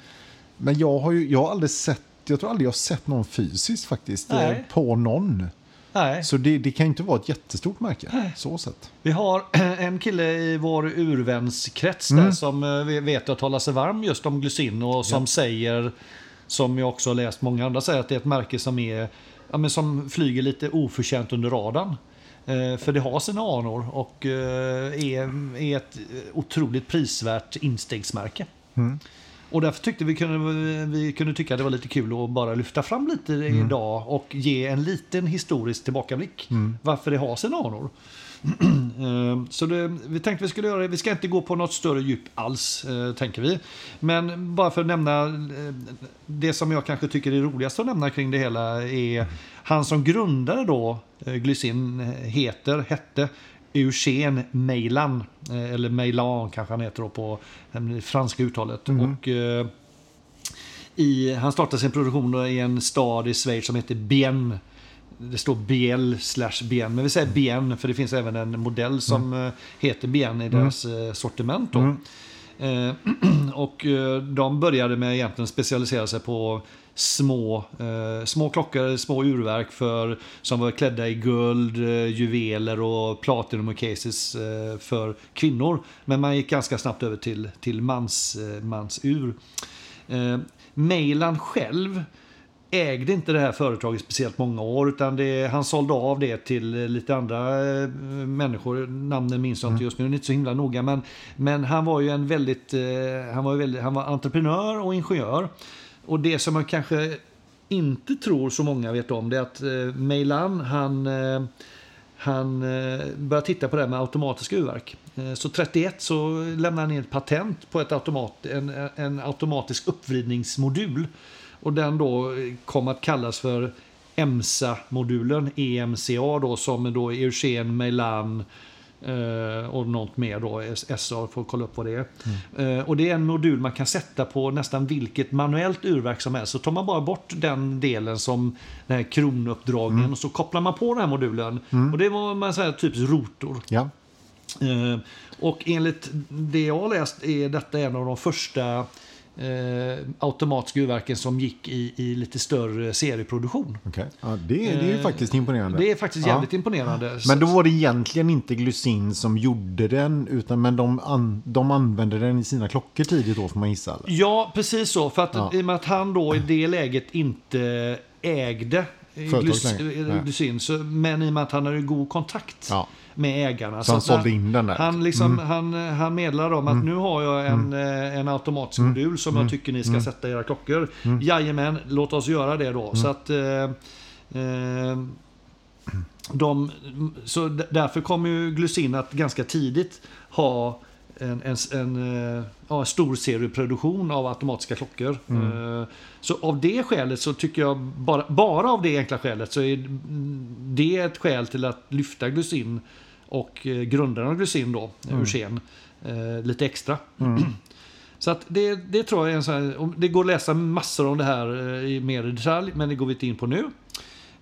[SPEAKER 2] men jag har ju jag har aldrig sett, jag tror aldrig jag har sett någon fysiskt faktiskt eh,
[SPEAKER 1] Nej.
[SPEAKER 2] på någon.
[SPEAKER 1] Nej.
[SPEAKER 2] Så det, det kan ju inte vara ett jättestort märke. Så sett.
[SPEAKER 1] Vi har en kille i vår urvänskrets där som eh, vi vet att talar sig varm just om glycin och som säger, som jag också har läst många andra säger, att det är ett märke som, är, ja, men som flyger lite oförtjänt under radarn. Eh, För det har sina anor och eh, är, är ett otroligt prisvärt instegsmärke. Och därför tyckte vi kunde, vi kunde tycka det var lite kul att bara lyfta fram lite idag och ge en liten historisk tillbakablick varför det har sina anor. Eh, Så det, vi tänkte vi skulle göra det. Vi ska inte gå på något större djup alls, eh, tänker vi. Men bara för att nämna, eh, det som jag kanske tycker är roligast att nämna kring det hela är han som grundade då eh, Glycin heter, hette Eugen Meilan, eh, eller Meilan kanske han heter då på eh, det franska uttalet. Och, eh, i, han startade sin produktion då i en stad i Schweiz som heter Bienne. Det står BL slash BN, men vi säger BN för det finns även en modell som eh, heter BN i deras eh, sortiment. Då. Eh, och eh, de började med egentligen specialisera sig på små, eh, små klockor, små urverk för, som var klädda i guld, eh, juveler och platinum och cases eh, för kvinnor. Men man gick ganska snabbt över till, till mans, eh, mans ur. Eh, Mejlan själv ägde inte det här företaget speciellt många år utan det, han sålde av det till eh, lite andra eh, människor. Namnen minns jag inte just nu, det är inte så himla noga. Men, men han var ju en väldigt, eh, han var, ju väldigt, han var entreprenör och ingenjör. Och det som man kanske inte tror så många vet om det är att eh, Mejlan, han eh, han eh, började titta på det här med automatiska urverk. Eh, Så 31 så lämnade han in ett patent på ett automat, en, en automatisk uppvridningsmodul. Och den då eh, kom att kallas för EMSA-modulen, E EMCA då, som då är Eugen Meilan eh, och något mer då, S- SA, får kolla upp vad det är.
[SPEAKER 2] Mm.
[SPEAKER 1] Eh, Och det är en modul man kan sätta på nästan vilket manuellt urverk som helst. Så tar man bara bort den delen som den här kronuppdragningen
[SPEAKER 2] Mm.
[SPEAKER 1] och så kopplar man på den här modulen. Och det var man säger typiskt rotor.
[SPEAKER 2] Ja.
[SPEAKER 1] Eh, Och enligt det jag har läst är detta en av de första eh, automatiska urverken som gick i, i lite större serieproduktion.
[SPEAKER 2] Okej. Ja, det, det är ju
[SPEAKER 1] Eh,
[SPEAKER 2] faktiskt imponerande.
[SPEAKER 1] Det är faktiskt
[SPEAKER 2] Ja.
[SPEAKER 1] jävligt imponerande.
[SPEAKER 2] Men då var det egentligen inte glycin som gjorde den, utan men de, an, de använde den i sina klockor tidigt då får man gissa. Eller?
[SPEAKER 1] Ja, precis så. För att
[SPEAKER 2] Ja.
[SPEAKER 1] i och med att han då i det läget inte ägde
[SPEAKER 2] Företaget längre. Nej.
[SPEAKER 1] Glycin, så, men i och med att han hade god kontakt
[SPEAKER 2] Ja.
[SPEAKER 1] med ägarna.
[SPEAKER 2] Så han
[SPEAKER 1] att Alltså, när-
[SPEAKER 2] sålde in den där. Mm.
[SPEAKER 1] Han, liksom, han, han meddelar dem att nu har jag en, eh, en
[SPEAKER 2] Mm.
[SPEAKER 1] automatisk modul som jag tycker ni ska sätta i era
[SPEAKER 2] Mm.
[SPEAKER 1] klockor. Jajamän, låt oss göra det då. Så att... Eh, eh, de, så d- därför kommer ju Glycin att ganska tidigt ha en, en, en, eh, ja, en stor serieproduktion av automatiska klockor. Eh, Så av det skälet så tycker jag, bara, bara av det enkla skälet, så är det ett skäl till att lyfta Glycin och eh, grundaren av Glycin då, mm. Ursén, eh, lite extra. Så att det, det tror jag är en sån här, och det går att läsa massor om det här eh, i mer i detalj, men det går vi inte in på nu.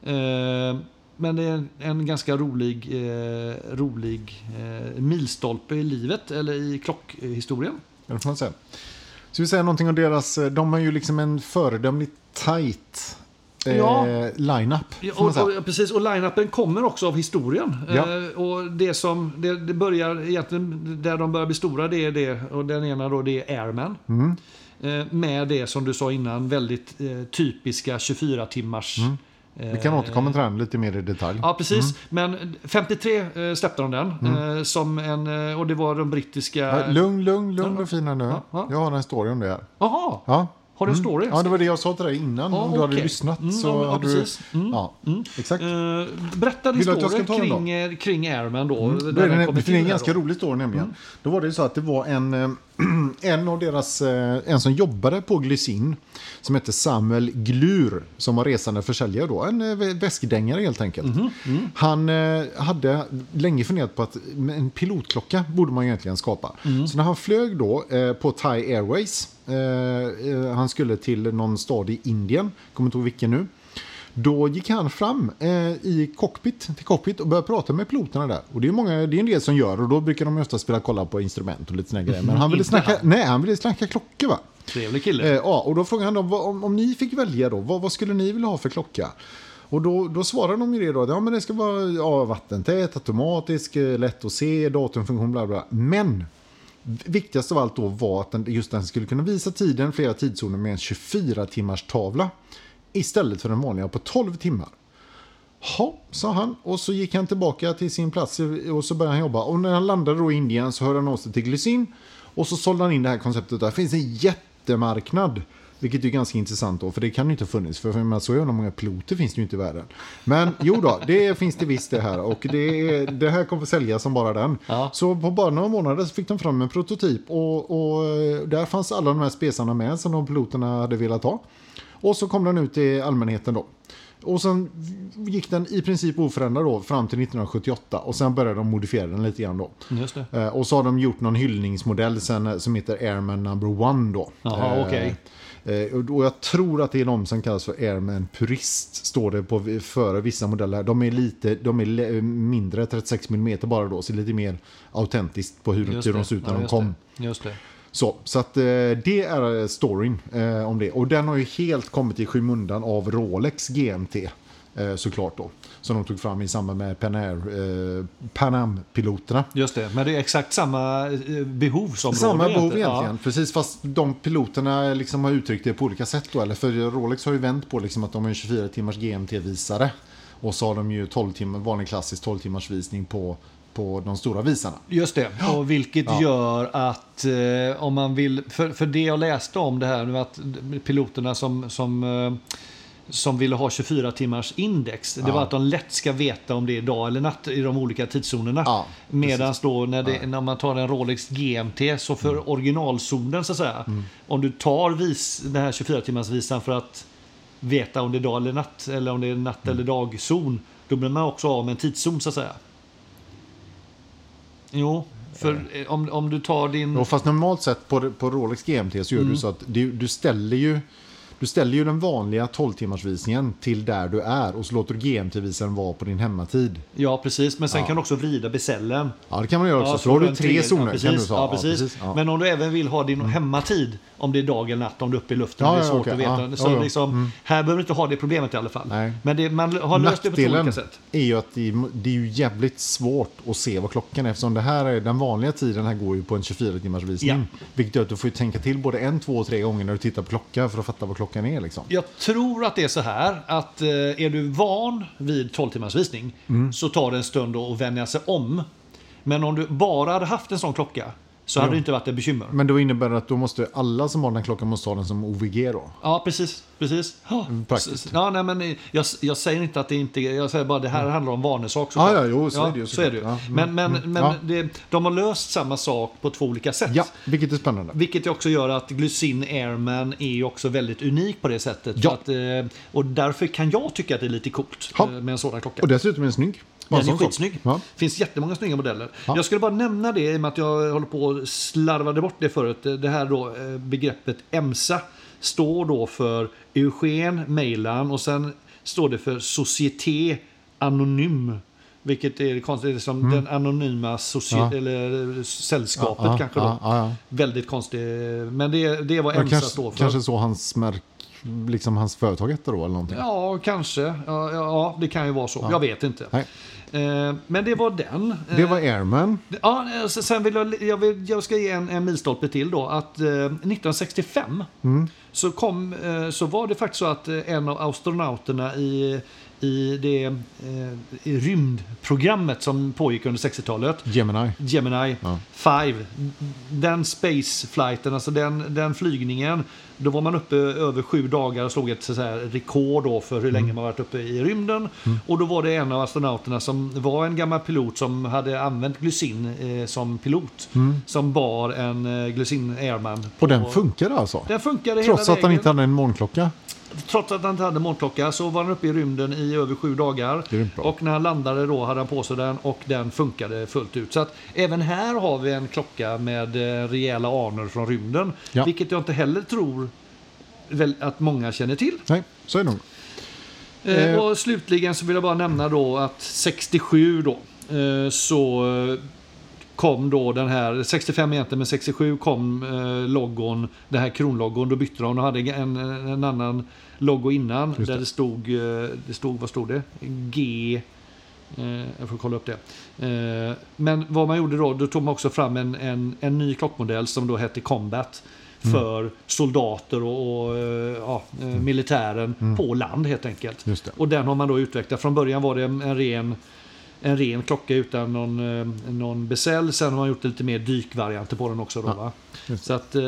[SPEAKER 1] Eh, Men det är en- en ganska rolig, eh, rolig eh, milstolpe i livet, eller i klockhistorien.
[SPEAKER 2] Eller får man säga. Ska vi säga någonting om deras, eh, de har ju liksom en föredömligt tight eh,
[SPEAKER 1] Ja.
[SPEAKER 2] line-up.
[SPEAKER 1] Ja,
[SPEAKER 2] får man
[SPEAKER 1] Och,
[SPEAKER 2] säga.
[SPEAKER 1] och, precis, och line-upen kommer också av historien.
[SPEAKER 2] Ja.
[SPEAKER 1] Eh, och det som, det, det börjar egentligen, där de börjar bli stora, det är det, och den ena då, det är Airman. Eh, med det som du sa innan, väldigt eh, typiska 24-timmars...
[SPEAKER 2] Vi kan återkomma till den lite mer i detalj.
[SPEAKER 1] Ja, precis. Men 53 eh, släppte de den. eh, Som en, eh, och det var de brittiska...
[SPEAKER 2] Ja, lugn, lugn, lugn och fina nu.
[SPEAKER 1] Ja, ja.
[SPEAKER 2] Jag har en story om det här.
[SPEAKER 1] Jaha,
[SPEAKER 2] Ja.
[SPEAKER 1] har du en story?
[SPEAKER 2] ja, det var det jag sa till dig innan.
[SPEAKER 1] Ja,
[SPEAKER 2] om du hade
[SPEAKER 1] okej.
[SPEAKER 2] lyssnat
[SPEAKER 1] Mm,
[SPEAKER 2] så
[SPEAKER 1] ja, men- ja,
[SPEAKER 2] hade du...
[SPEAKER 1] precis. Mm,
[SPEAKER 2] Ja, exakt.
[SPEAKER 1] Eh, Berätta din
[SPEAKER 2] Vill du att jag ska
[SPEAKER 1] story
[SPEAKER 2] ta den då? Mm.
[SPEAKER 1] kring, eh, kring Airman då. där
[SPEAKER 2] Det är,
[SPEAKER 1] den
[SPEAKER 2] en,
[SPEAKER 1] kommer
[SPEAKER 2] det är
[SPEAKER 1] till
[SPEAKER 2] en
[SPEAKER 1] här
[SPEAKER 2] ganska
[SPEAKER 1] då. Mm.
[SPEAKER 2] rolig story nämligen. Då var det ju så att det var en, eh, en av deras, eh, en som jobbade på Glycin som hette Samuel Glur som var resande försäljare då, en eh, vä- väskdängare helt enkelt.
[SPEAKER 1] Mhm, mm.
[SPEAKER 2] Han eh, hade länge funderat på att en pilotklocka borde man ju egentligen skapa.
[SPEAKER 1] Mm.
[SPEAKER 2] Så när han flög då eh, på Thai Airways, eh, eh, han skulle till någon stad i Indien, kommer inte ihåg vilken nu. Då gick han fram eh, i cockpit, till cockpit och började prata med piloterna där. Och det är, många, det är en del som gör och då brukar de ofta spela kolla på instrument och lite såna grejer. Men han ville
[SPEAKER 1] Inte
[SPEAKER 2] snacka,
[SPEAKER 1] han.
[SPEAKER 2] nej, han ville snacka klockor va?
[SPEAKER 1] Trevlig kille.
[SPEAKER 2] Eh, ja, och då frågade han dem, vad- om, om ni fick välja då, vad, vad skulle ni vilja ha för klocka? Och då, då svarade de ju det då, att, ja men det ska vara ja, vattentät, automatisk, eh, lätt att se, datumfunktion, bla bla. Men viktigast av allt då var att den, just den skulle kunna visa tiden flera tidszoner med en 24 timmars tavla istället för den vanliga på 12 timmar. Ja, sa han och så gick han tillbaka till sin plats och så började han jobba. Och när han landade då i Indien så hörde han av sig till Glycin och så sålde han in det här konceptet. Där finns en jättemarknad. Vilket är ganska intressant då, för det kan ju inte ha funnits. För för man så jävla många piloter finns det ju inte i världen. Men jo då, det finns det visst det här. Och det, är- det här kommer säljas som bara den.
[SPEAKER 1] Ja.
[SPEAKER 2] Så på bara några månader så fick de fram en prototyp. Och, och eh, där fanns alla de här spesarna med som de piloterna hade velat ha. Och så kom den ut till allmänheten då. Och sen gick den i princip oförändrad då fram till 1978 och sen började de modifiera den lite grann då.
[SPEAKER 1] Just det.
[SPEAKER 2] Eh, och så har de gjort någon hyllningsmodell sen eh, som heter Airman Number One då.
[SPEAKER 1] Jaha, okej.
[SPEAKER 2] eh, och- och jag tror att det är de som kallas för Airman Purist, står det på vi- före vissa modeller. De är lite, de är le- mindre, 36 mm bara då, så lite mer autentiskt på hur,
[SPEAKER 1] Just
[SPEAKER 2] hur
[SPEAKER 1] det.
[SPEAKER 2] de såg ut när
[SPEAKER 1] Ja,
[SPEAKER 2] de
[SPEAKER 1] just
[SPEAKER 2] kom.
[SPEAKER 1] det. Just det.
[SPEAKER 2] Så, så att eh, det är eh, storyn eh, om det. Och den har ju helt kommit i skymundan av Rolex GMT. Eh, såklart då. Som de tog fram i samband med Panair, eh, Panam-piloterna.
[SPEAKER 1] Just det, men det är exakt samma eh, behov som
[SPEAKER 2] Samma
[SPEAKER 1] råder
[SPEAKER 2] behov egentligen, precis. Fast de piloterna liksom har uttryckt det på olika sätt då. Eller för Rolex har ju vänt på liksom att de är en 24 timmars GMT-visare. Och så har de ju 12 timmar, vanlig klassisk 12 timmars visning på, på de stora visarna.
[SPEAKER 1] Ja, just det, och vilket gör att eh, om man vill, för, för det jag läste om det här nu att piloterna som, som eh, som ville ha 24 timmars index. Det var att de lätt ska veta om det är dag eller natt i de olika tidszonerna.
[SPEAKER 2] Ja,
[SPEAKER 1] Medan då när, det, när man tar en Rolex GMT, så för originalzonen så att säga. Om du tar vis, den här 24 timmars visan för att veta om det är dag eller natt eller om det är natt eller dagzon. Då blir man också av med en tidszon så att säga. Jo, för eh, om, om du tar din...
[SPEAKER 2] Ja, fast normalt sett på, på Rolex GMT så gör
[SPEAKER 1] Mm.
[SPEAKER 2] du så att du, du ställer ju du ställer ju den vanliga 12-timmarsvisningen till där du är och så låter du GMT-visaren vara på din hemmatid.
[SPEAKER 1] Ja, precis. Men sen kan du också vrida besällen.
[SPEAKER 2] Ja, det kan man göra också.
[SPEAKER 1] Ja,
[SPEAKER 2] så, har
[SPEAKER 1] du
[SPEAKER 2] du
[SPEAKER 1] en
[SPEAKER 2] tre
[SPEAKER 1] tredje-
[SPEAKER 2] zoner.
[SPEAKER 1] Ja, precis,
[SPEAKER 2] kan du säga.
[SPEAKER 1] ja, precis.
[SPEAKER 2] Ja. Mm.
[SPEAKER 1] Men om du även vill ha din hemmatid, om det är dag eller natt, om du är uppe i luften,
[SPEAKER 2] Ja,
[SPEAKER 1] det är
[SPEAKER 2] ja,
[SPEAKER 1] svårt
[SPEAKER 2] okej.
[SPEAKER 1] att veta.
[SPEAKER 2] Ja,
[SPEAKER 1] så
[SPEAKER 2] ja, ja.
[SPEAKER 1] liksom, Här behöver du inte ha det problemet i alla fall.
[SPEAKER 2] Nej.
[SPEAKER 1] Men det, man har löst det på två
[SPEAKER 2] Nackdelen
[SPEAKER 1] olika sätt.
[SPEAKER 2] är ju att det, är- det är ju jävligt svårt att se vad klockan är eftersom det här är den vanliga tiden här går ju på en 24 timmars visning.
[SPEAKER 1] Ja.
[SPEAKER 2] Vilket gör att du får ju tänka till både en, två och tre gånger när du tittar på klockan för att fatta vad klockan är liksom.
[SPEAKER 1] Jag tror att det är så här att eh, är du van vid 12 timmars visning
[SPEAKER 2] Mm.
[SPEAKER 1] så tar det en stund då att vänja sig om. Men om du bara hade haft en sån klocka så hade det inte varit ett bekymmer.
[SPEAKER 2] Men då innebär det att då måste alla som har den här klockan måste ha den som OVG då?
[SPEAKER 1] Ja, precis. precis. Ja.
[SPEAKER 2] Mm, praktiskt.
[SPEAKER 1] S- s- Ja, nej, men jag, jag säger inte att det inte Jag säger bara att det här handlar om vanesak.
[SPEAKER 2] Mm. Ja,
[SPEAKER 1] såklart.
[SPEAKER 2] ja, jo, så är det ju
[SPEAKER 1] så är det ju.
[SPEAKER 2] såklart. Ja,
[SPEAKER 1] Men,
[SPEAKER 2] mm,
[SPEAKER 1] men, men
[SPEAKER 2] Ja.
[SPEAKER 1] det, de har löst samma sak på två olika sätt.
[SPEAKER 2] Ja, vilket är spännande.
[SPEAKER 1] Vilket ju också gör att Glycin Airman är ju också väldigt unik på det sättet.
[SPEAKER 2] Ja.
[SPEAKER 1] För Att, eh, och därför kan jag tycka att det är lite coolt
[SPEAKER 2] Ja.
[SPEAKER 1] eh, med en sådan klocka.
[SPEAKER 2] Och dessutom är den snygg. Bara
[SPEAKER 1] Den är
[SPEAKER 2] som så.
[SPEAKER 1] skitsnygg.
[SPEAKER 2] Ja.
[SPEAKER 1] finns jättemånga snygga modeller.
[SPEAKER 2] Ja.
[SPEAKER 1] Jag skulle bara nämna det i och med att jag håller på och slarvade bort det förut. Det här då, eh, begreppet EMSA står då för Eugen Mejlan och sen står det för Société Anonym. Vilket är konstigt, det är som den anonyma socie-
[SPEAKER 2] Mm. Ja.
[SPEAKER 1] eller eh, sällskapet
[SPEAKER 2] Ja,
[SPEAKER 1] kanske.
[SPEAKER 2] ja,
[SPEAKER 1] Då.
[SPEAKER 2] ja, ja.
[SPEAKER 1] Väldigt konstigt, men det, det är vad
[SPEAKER 2] Ja,
[SPEAKER 1] EMSA
[SPEAKER 2] kanske,
[SPEAKER 1] står för.
[SPEAKER 2] kanske så hans märk, liksom hans företag hette då eller någonting.
[SPEAKER 1] Ja, kanske. Ja, ja, det kan ju vara så. Jag vet inte.
[SPEAKER 2] Nej.
[SPEAKER 1] Eh, Men det var den.
[SPEAKER 2] Det
[SPEAKER 1] Eh,
[SPEAKER 2] var Airman.
[SPEAKER 1] Ja, eh, sen sen vill jag, jag, vill, jag ska ge en, en milstolpe till då. Att eh, 1965 så, kom, eh, så var det faktiskt så att eh, en av astronauterna i, i det eh, i rymdprogrammet som pågick under 60-talet
[SPEAKER 2] Gemini.
[SPEAKER 1] Gemini
[SPEAKER 2] Ja.
[SPEAKER 1] 5. Den spaceflighten, alltså den, den flygningen. Då var man uppe över sju dagar och slog ett så här, rekord då för
[SPEAKER 2] Mm.
[SPEAKER 1] hur länge man varit uppe i rymden. Och då var det en av astronauterna som var en gammal pilot som hade använt glycin eh, som pilot. Som bar en eh, glycin Airman.
[SPEAKER 2] Mm. Och den funkade alltså?
[SPEAKER 1] Den funkade
[SPEAKER 2] Trots
[SPEAKER 1] hela
[SPEAKER 2] att
[SPEAKER 1] vägen.
[SPEAKER 2] han inte hade en morgonklocka?
[SPEAKER 1] Trots att han inte hade morgonklocka så var han uppe i rymden i över sju dagar.
[SPEAKER 2] Grymt bra.
[SPEAKER 1] Och när han landade då hade han på sig den och den funkade fullt ut. Så att även här har vi en klocka med eh, rejäla anor från rymden.
[SPEAKER 2] Ja.
[SPEAKER 1] Vilket jag inte heller tror väl att många känner till.
[SPEAKER 2] Nej, så är det nog.
[SPEAKER 1] Eh,
[SPEAKER 2] Eh.
[SPEAKER 1] Och slutligen så vill jag bara nämna då att 67 då eh, så eh, kom då den här, 65 egentligen, men 67 kom eh, logon, den här kronlogon. Då bytte de och hade en, en annan logo innan
[SPEAKER 2] Just
[SPEAKER 1] där
[SPEAKER 2] det.
[SPEAKER 1] det stod, eh, det stod, vad stod det? G... Eh, jag får kolla upp det. Eh, men vad man gjorde då, då tog man också fram en, en, en ny klockmodell som då hette Combat.
[SPEAKER 2] Mm.
[SPEAKER 1] För soldater och, och eh, ja, eh, militären
[SPEAKER 2] Mm.
[SPEAKER 1] på land helt enkelt.
[SPEAKER 2] Just det.
[SPEAKER 1] Och den har man då utvecklat. Från början var det en en ren, en ren klocka utan någon, eh, någon besäll. Sen har man gjort lite mer dykvarianter på den också. Då, va?
[SPEAKER 2] just
[SPEAKER 1] Så att, eh,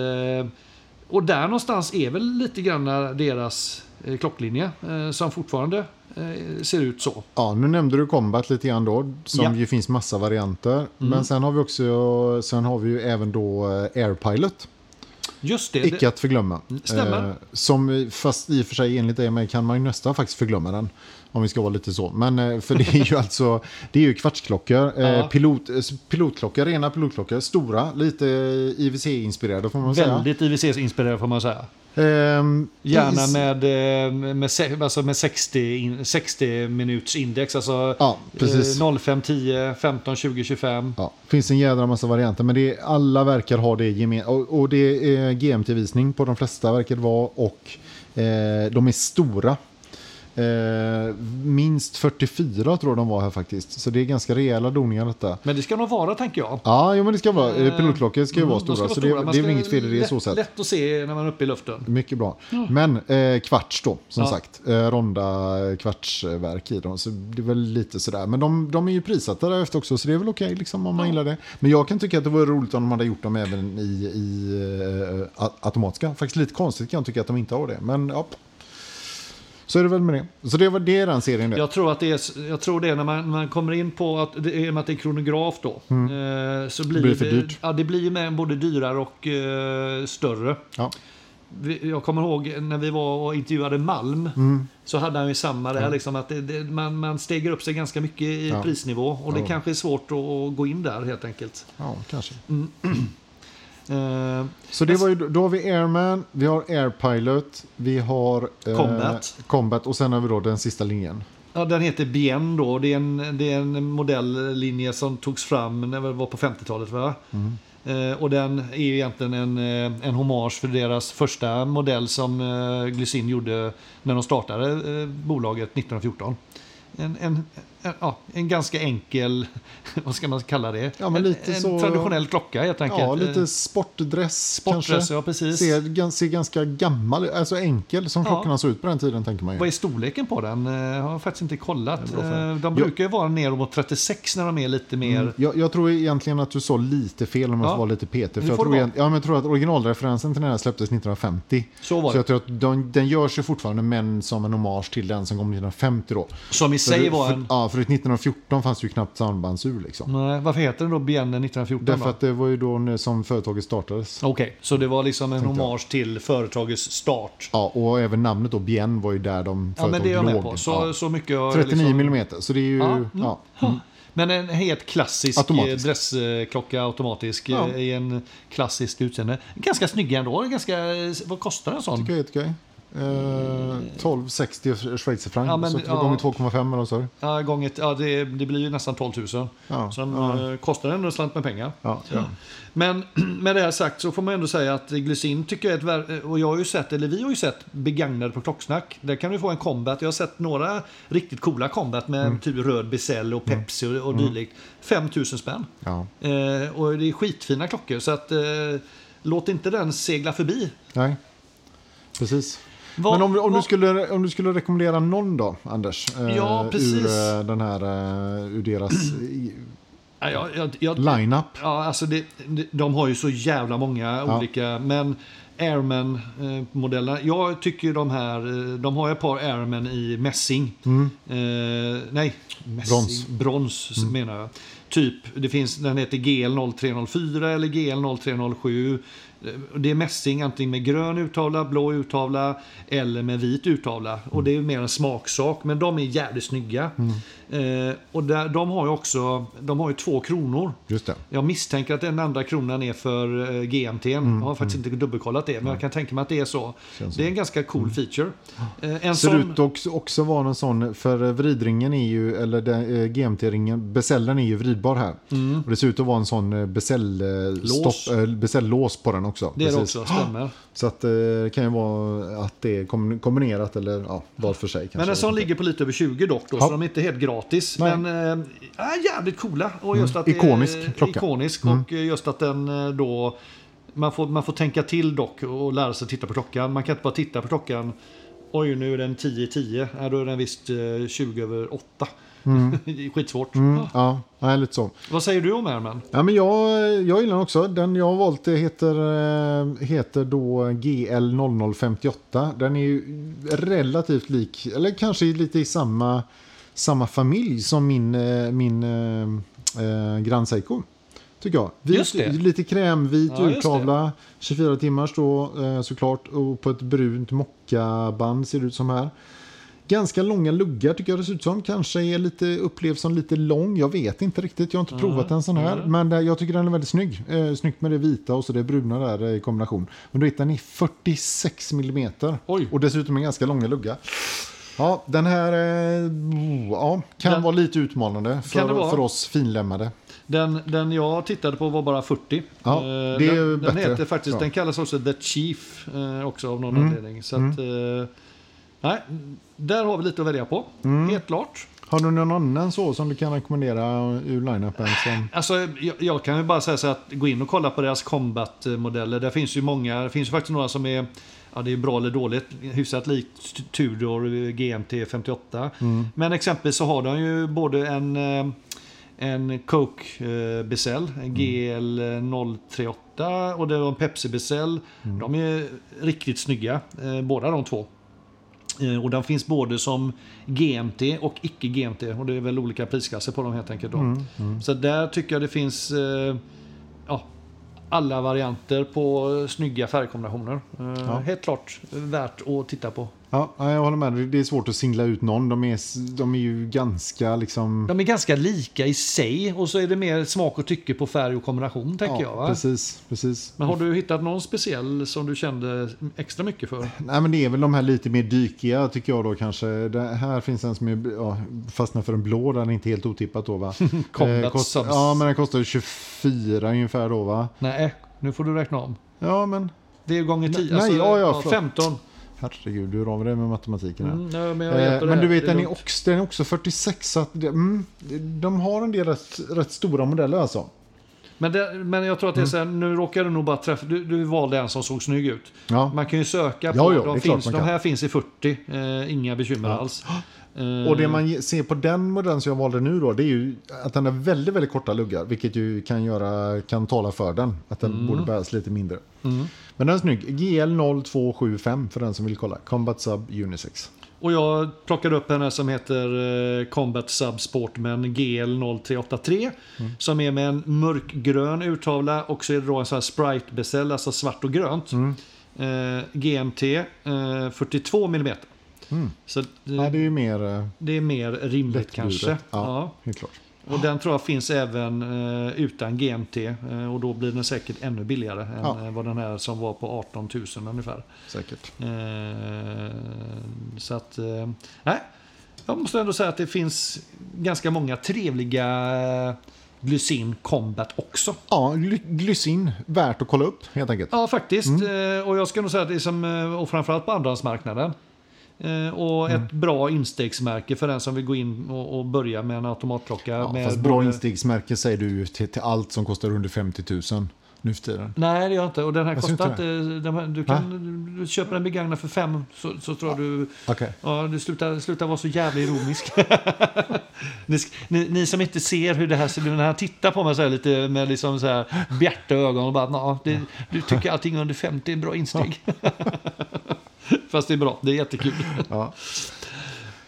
[SPEAKER 1] och där någonstans är väl lite grann deras eh, klocklinje eh, som fortfarande eh, ser ut så.
[SPEAKER 2] Ja, nu nämnde du Combat lite grann då, som
[SPEAKER 1] Ja. Mm.
[SPEAKER 2] ju finns massa varianter. Men sen har vi också, sen har vi ju även då eh, Airpilot.
[SPEAKER 1] Just Eh, det. Mm,
[SPEAKER 2] Icke att förglömma.
[SPEAKER 1] Stämmer.
[SPEAKER 2] Eh, Som, fast i och för sig enligt mig kan man ju nästan faktiskt förglömma den. Om vi ska vara lite så. Men eh, för det är ju alltså, det är ju kvartsklockor. eh,
[SPEAKER 1] Ja.
[SPEAKER 2] Pilot, eh, pilotklockor, rena pilotklockor. Stora, lite IVC-inspirerade får man
[SPEAKER 1] det,
[SPEAKER 2] säga.
[SPEAKER 1] väldigt IWC-inspirerad får man säga.
[SPEAKER 2] Ehm,
[SPEAKER 1] Gärna
[SPEAKER 2] is-
[SPEAKER 1] med, eh, med, se- alltså med 60, in, 60 minuters index. Alltså
[SPEAKER 2] Ja, precis.
[SPEAKER 1] eh, 05, 10, 15, 20, 25.
[SPEAKER 2] Ja, finns en jädra massa varianter, men det är, alla verkar ha det gemensamt. Och, och det är GMT-visning på de flesta verkar det vara och eh, de är stora. Eh, minst 44 tror jag de var här faktiskt, så det är ganska rejäla doningar detta.
[SPEAKER 1] Men det ska nog vara, tänker jag.
[SPEAKER 2] Ja, jo, men det ska vara, eh, pilotklockor ska ju
[SPEAKER 1] Mm,
[SPEAKER 2] vara
[SPEAKER 1] de
[SPEAKER 2] stora, så det,
[SPEAKER 1] stora. Man
[SPEAKER 2] det är väl
[SPEAKER 1] ska-
[SPEAKER 2] inget fel i det
[SPEAKER 1] lätt,
[SPEAKER 2] så sett.
[SPEAKER 1] Lätt att se när man är uppe i luften.
[SPEAKER 2] Mycket bra. Men eh, kvarts då, som
[SPEAKER 1] Ja.
[SPEAKER 2] sagt. Eh, ronda kvartsverk i dem. Så det är väl lite sådär. Men de, de är ju prissatta därefter också, så det är väl okej liksom, om man gillar det. Men jag kan tycka att det vore roligt om de hade gjort dem även i, i eh, a- automatiska. Faktiskt lite konstigt kan jag tycka att de inte har det. Men ja. Så är det väl med det. Så det var det är den serien. Det.
[SPEAKER 1] Jag tror att det är, jag tror det är när man, man kommer in på att det, i och med att det är kronograf då. Eh, så blir det,
[SPEAKER 2] Mm. blir för dyrt.
[SPEAKER 1] Ja, det blir ju med både dyrare och eh, större.
[SPEAKER 2] Ja.
[SPEAKER 1] Vi- Jag kommer ihåg när vi var och intervjuade Malm.
[SPEAKER 2] Mm.
[SPEAKER 1] Så hade han ju samma där. Liksom, att det, det, man, man steger upp sig ganska mycket i
[SPEAKER 2] Ja.
[SPEAKER 1] prisnivå. Och det
[SPEAKER 2] Ja.
[SPEAKER 1] kanske är svårt att, att gå in där helt enkelt.
[SPEAKER 2] ja, kanske.
[SPEAKER 1] Eh,
[SPEAKER 2] Så det var ju, då har vi Airman, vi har Airpilot, vi har eh,
[SPEAKER 1] Combat.
[SPEAKER 2] Combat och sen har vi då den sista linjen.
[SPEAKER 1] Ja, den heter Bien då. Det är, en, det är en modelllinje som togs fram när det var på 50-talet. Va?
[SPEAKER 2] Mm.
[SPEAKER 1] Eh, och den är ju egentligen en, eh, en hommage för deras första modell som eh, Glycin gjorde när de startade eh, bolaget 1914. En, en, ja, en ganska enkel, vad ska man kalla det?
[SPEAKER 2] Ja, men lite
[SPEAKER 1] en, en
[SPEAKER 2] så-
[SPEAKER 1] traditionell klocka helt enkelt.
[SPEAKER 2] Ja,
[SPEAKER 1] Eh,
[SPEAKER 2] lite sportdress,
[SPEAKER 1] Sportdress,
[SPEAKER 2] kanske.
[SPEAKER 1] ja precis.
[SPEAKER 2] Ser, gan- ser ganska gammal, alltså enkel som
[SPEAKER 1] Ja.
[SPEAKER 2] klockorna såg ut på den tiden tänker man ju.
[SPEAKER 1] Vad är storleken på den? Eh, Har jag faktiskt inte kollat.
[SPEAKER 2] är bra fråga.
[SPEAKER 1] Eh, De
[SPEAKER 2] Ja.
[SPEAKER 1] brukar ju vara ner mot 36 när de är lite mer...
[SPEAKER 2] Mm. Jag, jag tror egentligen att du sa lite fel om jag
[SPEAKER 1] Ja.
[SPEAKER 2] får vara lite petig.
[SPEAKER 1] Det
[SPEAKER 2] För jag,
[SPEAKER 1] får
[SPEAKER 2] tror
[SPEAKER 1] du
[SPEAKER 2] egent- ja, men jag tror att originalreferensen till den här släpptes 1950.
[SPEAKER 1] Så var
[SPEAKER 2] Så
[SPEAKER 1] det.
[SPEAKER 2] jag tror att de, den görs ju fortfarande men som en hommage till den som kom 1950 då.
[SPEAKER 1] Som i sig
[SPEAKER 2] för,
[SPEAKER 1] var
[SPEAKER 2] För,
[SPEAKER 1] en... Mm,
[SPEAKER 2] ja, för 1914 fanns det ju knappt sambandsur liksom.
[SPEAKER 1] Nej, varför heter den då Bienne 1914?
[SPEAKER 2] Därför
[SPEAKER 1] då?
[SPEAKER 2] att det var ju då när- som företaget startades.
[SPEAKER 1] Okej, så det var liksom en
[SPEAKER 2] Tänkte jag.
[SPEAKER 1] hommage till företagets start.
[SPEAKER 2] Ja, och även namnet då, Bien, var ju där de
[SPEAKER 1] Ja, men det är jag
[SPEAKER 2] företaget
[SPEAKER 1] med
[SPEAKER 2] låg.
[SPEAKER 1] på. Så,
[SPEAKER 2] Ja.
[SPEAKER 1] så mycket... har jag
[SPEAKER 2] 39
[SPEAKER 1] liksom-
[SPEAKER 2] millimeter, så det är ju...
[SPEAKER 1] Ja, mm.
[SPEAKER 2] Ja.
[SPEAKER 1] Men en helt klassisk
[SPEAKER 2] Automatisk.
[SPEAKER 1] automatisk. dressklocka, automatisk,
[SPEAKER 2] Ja.
[SPEAKER 1] eh, i en klassisk utseende. Ganska snygga ändå. Ganska, eh, vad kostar en sån?
[SPEAKER 2] Tycker jag är okej. Eh, 1260 schweizerfranc,
[SPEAKER 1] Ja, men-
[SPEAKER 2] så det var
[SPEAKER 1] ja.
[SPEAKER 2] gånger 2,5 eller vad sa du?
[SPEAKER 1] Ja, gånger, ja, det, det blir ju nästan 12 000.
[SPEAKER 2] Ja,
[SPEAKER 1] Sen
[SPEAKER 2] ja.
[SPEAKER 1] eh, kostar den ändå en slant med pengar.
[SPEAKER 2] Ja, ja.
[SPEAKER 1] Men med det här sagt så får man ändå säga att glycin tycker jag är ett vär- eh, och jag har ju sett, eller vi har ju sett begagnade på klocksnack. Där kan du få en combat. Jag har sett några riktigt coola combat med
[SPEAKER 2] Mm.
[SPEAKER 1] typ röd bezel och Pepsi och, och dylikt. 5000 spänn.
[SPEAKER 2] ja.
[SPEAKER 1] Eh, och det är skitfina klockor så att eh, låt inte den segla förbi.
[SPEAKER 2] Nej, precis.
[SPEAKER 1] Vad-
[SPEAKER 2] Men om, om, du
[SPEAKER 1] vad-
[SPEAKER 2] skulle, om du skulle rekommendera någon då, Anders? eh,
[SPEAKER 1] Ja, precis.
[SPEAKER 2] Ur, eh, den här, eh, ur deras i-
[SPEAKER 1] Ja, jag, jag, jag,
[SPEAKER 2] lineup.
[SPEAKER 1] Ja, alltså det, det- de har ju så jävla många
[SPEAKER 2] Ja.
[SPEAKER 1] olika. Men Airman-modellerna. Jag tycker ju de här, eh, de har ju ett par Airman i mässing. Eh, nej, mässing,
[SPEAKER 2] Mm. Brons. Mm.
[SPEAKER 1] brons menar jag. Typ, det finns, den heter GL0304 eller GL0307. Eh, Det är mässing antingen med grön urtavla, blå urtavla eller med vit urtavla.
[SPEAKER 2] Mm.
[SPEAKER 1] Och det är ju mer en smaksak, men de är jävligt snygga.
[SPEAKER 2] Mm.
[SPEAKER 1] Eh, och där, de har ju också, de har ju två kronor.
[SPEAKER 2] Just det.
[SPEAKER 1] Jag misstänker att den andra kronan är för eh, GMT. Jag har faktiskt inte dubbelkollat det, men jag kan tänka mig att det är så.
[SPEAKER 2] Mm, Känns Mm.
[SPEAKER 1] det är en ganska cool feature. Eh, En
[SPEAKER 2] Ser
[SPEAKER 1] sån,
[SPEAKER 2] ut också, också vara någon sån, för eh, vridringen är ju, eller den, eh, GMT-ringen, beställaren är ju vridbar här. Och det ser ut att vara en sån eh, beställ, eh,
[SPEAKER 1] Mm. Lås.
[SPEAKER 2] stopp, eh, beställ-lås på den också.
[SPEAKER 1] det är det
[SPEAKER 2] Precis.
[SPEAKER 1] också, stämmer.
[SPEAKER 2] Så att eh, det kan ju vara att det är kom- kombinerat eller ja, var för sig. Kanske.
[SPEAKER 1] Men en sån
[SPEAKER 2] Jag vet inte.
[SPEAKER 1] ligger på lite över 20 dock, då,
[SPEAKER 2] Ja.
[SPEAKER 1] så de är inte helt gratis.
[SPEAKER 2] Nej. Mm.
[SPEAKER 1] Men eh, ja, jävligt coola. Och just att det är
[SPEAKER 2] Ikonisk klocka. Mm.
[SPEAKER 1] Ikonisk och eh, just att den eh, då... Man får, man får tänka till dock och lära sig titta på klockan. Man kan inte bara titta på klockan. Oj, nu är den 10 i 10. Ja, då är den visst eh, 20 över 8. Skitsvårt.
[SPEAKER 2] Mm, ja, nej, lite så.
[SPEAKER 1] Vad säger du om Airman?
[SPEAKER 2] Ja, men jag, jag gillar den också. Den jag har valt eh, heter, eh, heter då GL0058. Den är ju relativt lik, eller kanske lite i samma, samma familj som min, eh, min eh, eh, Grand Seiko. Tycker jag. Vit,
[SPEAKER 1] Just det.
[SPEAKER 2] Lite krämvit
[SPEAKER 1] Ja, just
[SPEAKER 2] urtavla, 24 timmars då eh, såklart och på ett brunt mockaband ser det ut som här. Ganska långa luggar tycker jag det ser ut som. Kanske är lite, upplevs som lite lång. Jag vet inte riktigt. Jag har inte
[SPEAKER 1] Mm.
[SPEAKER 2] provat en sån här. Men eh, jag tycker den är väldigt snygg. Eh, snyggt med det vita och så det bruna där eh, i kombination. Men du vet, den är 46 millimeter
[SPEAKER 1] Oj.
[SPEAKER 2] Och dessutom en ganska långa lugga. Ja, den här eh, ja, kan
[SPEAKER 1] Den-
[SPEAKER 2] vara lite utmanande
[SPEAKER 1] Kan det
[SPEAKER 2] för,
[SPEAKER 1] vara?
[SPEAKER 2] för oss finlämmade.
[SPEAKER 1] Den, den jag tittade på var bara 40.
[SPEAKER 2] Ja,
[SPEAKER 1] Eh,
[SPEAKER 2] det är
[SPEAKER 1] den,
[SPEAKER 2] ju
[SPEAKER 1] den
[SPEAKER 2] bättre.
[SPEAKER 1] heter faktiskt,
[SPEAKER 2] Ja. Mm.
[SPEAKER 1] den kallas också The Chief eh, också av någon anledning. Så att, eh, nej, där har vi lite att välja på,
[SPEAKER 2] Mm.
[SPEAKER 1] helt klart.
[SPEAKER 2] Har du någon annan så som du kan rekommendera ur line-upen? Som...
[SPEAKER 1] Alltså, jag, jag kan ju bara säga så här att gå in och kolla på deras combat-modeller. Där finns ju många, det finns ju faktiskt några som är Ja, det är bra eller dåligt. Hyfsat likt T- Tudor eh, GMT 58. Men exempelvis så har de ju både en, eh, en Coke eh, Bezel, en GL 038 och det var en Pepsi Bezel. De är riktigt snygga, eh, båda de två. Eh, Och den finns både som GMT och icke-GMT. Och det är väl olika prisklasser på dem helt enkelt. Då. Så där tycker jag det finns eh, ja, alla varianter på eh, snygga färgkombinationer. Eh,
[SPEAKER 2] Ja.
[SPEAKER 1] Helt klart eh, värt att titta på.
[SPEAKER 2] Ja, nej, jag håller med. dig. Det är svårt att singla ut någon. De är, de är ju ganska liksom...
[SPEAKER 1] De är ganska lika i sig och så är det mer smak och tycke på färg och kombination tänker jag. Va?
[SPEAKER 2] precis. precis.
[SPEAKER 1] Men har du hittat någon speciell som du kände extra mycket för?
[SPEAKER 2] Nej, men det är väl de här lite mer dykiga tycker jag då kanske. Det här finns en som är, ja, fastnar för en blå. Den är inte helt otippat då va? Eh,
[SPEAKER 1] Combat
[SPEAKER 2] kost,
[SPEAKER 1] subs.
[SPEAKER 2] Ja, men den kostar ju 24 ungefär då va?
[SPEAKER 1] Nej, nu får du räkna om.
[SPEAKER 2] Ja, men
[SPEAKER 1] Det är gånger 10,
[SPEAKER 2] Nej, ja, ja,
[SPEAKER 1] ja,
[SPEAKER 2] förlåt.
[SPEAKER 1] 15.
[SPEAKER 2] Herregud, hur har vi det med matematiken här?
[SPEAKER 1] Mm, nej, men, jag
[SPEAKER 2] Eh,
[SPEAKER 1] hjälper
[SPEAKER 2] Men
[SPEAKER 1] dig.
[SPEAKER 2] du vet,
[SPEAKER 1] Det är
[SPEAKER 2] den är,
[SPEAKER 1] lugnt.
[SPEAKER 2] också, den är också 46, så att det, mm, de har en del rätt, rätt stora modeller alltså.
[SPEAKER 1] men, det, men jag tror att det är så här,
[SPEAKER 2] Mm.
[SPEAKER 1] nu råkar du nog bara träffa, du, du valde en som såg snygg ut.
[SPEAKER 2] Ja.
[SPEAKER 1] Man kan ju söka på,
[SPEAKER 2] Ja, ja, det är
[SPEAKER 1] de,
[SPEAKER 2] klart
[SPEAKER 1] finns,
[SPEAKER 2] man
[SPEAKER 1] de
[SPEAKER 2] kan.
[SPEAKER 1] här finns i 40, eh, inga bekymmer alls. Eh,
[SPEAKER 2] Och det man ge- ser på den modellen som jag valde nu då, det är ju att den har väldigt, väldigt korta luggar, vilket ju kan, göra, kan tala för den. Att den borde bäras lite mindre. Men den är snygg. GL0275 för den som vill kolla. Combat Sub Unisex.
[SPEAKER 1] Och jag plockade upp den här som heter eh, Combat Sub Sportman GL0383.
[SPEAKER 2] Mm.
[SPEAKER 1] Som är med en mörkgrön urtavla och så är det då en sån här Sprite-beställ, alltså svart och grönt.
[SPEAKER 2] Mm.
[SPEAKER 1] Eh, GMT eh, 42 mm. Så eh,
[SPEAKER 2] Nej, det är ju mer eh,
[SPEAKER 1] det är mer rimligt
[SPEAKER 2] lättburet.
[SPEAKER 1] kanske.
[SPEAKER 2] Ja,
[SPEAKER 1] Ja.
[SPEAKER 2] helt klart.
[SPEAKER 1] Och den tror jag finns även eh, utan GMT eh, och då blir den säkert ännu billigare än
[SPEAKER 2] Ja.
[SPEAKER 1] eh, vad den här som var på 18 000 ungefär.
[SPEAKER 2] Säkert.
[SPEAKER 1] Eh, så att, eh, nej. Jag måste ändå säga att det finns ganska många trevliga eh, Glycin Combat också.
[SPEAKER 2] Ja, gly- glycin. Värt att kolla upp helt enkelt.
[SPEAKER 1] Ja, faktiskt. Eh, och jag ska nog säga att det är som, eh, och framförallt på andrahandsmarknaden. Eh, och ett bra instegsmärke för den som vill gå in och, och börja med en automatklocka.
[SPEAKER 2] Ja,
[SPEAKER 1] med
[SPEAKER 2] fast bra
[SPEAKER 1] både-
[SPEAKER 2] instegsmärke säger du ju till, till allt som kostar under 50 000 nu för tiden.
[SPEAKER 1] Nej, det gör jag inte. Och den här
[SPEAKER 2] Jag ser
[SPEAKER 1] kostar
[SPEAKER 2] inte
[SPEAKER 1] inte... Den här, du, kan, du köper den begagnad för fem så, så tror jag du...
[SPEAKER 2] Okej.
[SPEAKER 1] Ja, du slutar, slutar vara så jävla ironisk. ni, sk- ni, ni som inte ser hur det här ser ut, när han tittar på mig så här lite med liksom så här bjärta ögon och bara "Nå, det, du tycker allting under 50 är bra insteg. Fast det är bra, det är jättekul.
[SPEAKER 2] Ja,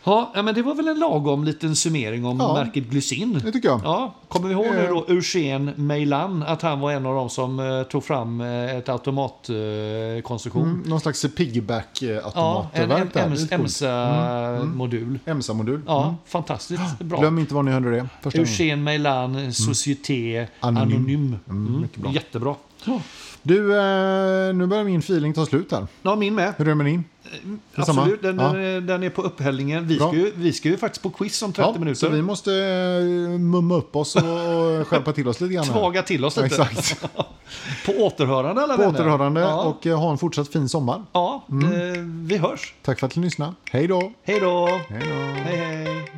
[SPEAKER 1] Ja, ja, men det var väl en lagom liten summering om
[SPEAKER 2] Ja. Eh.
[SPEAKER 1] märket Glycin.
[SPEAKER 2] det tycker jag.
[SPEAKER 1] Ja, kommer vi ihåg nu då Eugen Meilan, att han var en av de som eh, tog fram eh, ett automatkonstruktion. Eh, konstruktion.
[SPEAKER 2] Mm, någon slags
[SPEAKER 1] ja, en
[SPEAKER 2] piggyback-automatverk där. Lite coolt. Mm.
[SPEAKER 1] EMSA-modul.
[SPEAKER 2] EMSA-modul.
[SPEAKER 1] Ja, fantastiskt bra.
[SPEAKER 2] Mm. Glöm inte var ni hörde det. Första gången.
[SPEAKER 1] Eugen Meilan, Société
[SPEAKER 2] Anonym.
[SPEAKER 1] Anonym.
[SPEAKER 2] Mm, mycket bra.
[SPEAKER 1] Jättebra.
[SPEAKER 2] Du, eh, nu börjar min feeling ta slut här.
[SPEAKER 1] Ja, min med.
[SPEAKER 2] Hur är det med din? Detsamma.
[SPEAKER 1] Eh, Absolut, den,
[SPEAKER 2] Ja.
[SPEAKER 1] den är- den är på upphällningen. Vi
[SPEAKER 2] Bra.
[SPEAKER 1] ska, ju, vi ska ju faktiskt på quiz om 30
[SPEAKER 2] så
[SPEAKER 1] minuter.
[SPEAKER 2] vi måste eh, mumma upp oss och, och skärpa till oss lite grann. här.
[SPEAKER 1] Tvaga till oss
[SPEAKER 2] Ja,
[SPEAKER 1] lite.
[SPEAKER 2] Exakt.
[SPEAKER 1] På återhörande alla
[SPEAKER 2] På
[SPEAKER 1] vänner.
[SPEAKER 2] återhörande
[SPEAKER 1] Ja,
[SPEAKER 2] och Mm. eh, ha en fortsatt fin sommar.
[SPEAKER 1] ja eh, vi hörs.
[SPEAKER 2] Tack för att ni lyssnade. Hej då!
[SPEAKER 1] Hej då.
[SPEAKER 2] Hej då.
[SPEAKER 1] Hej, hej.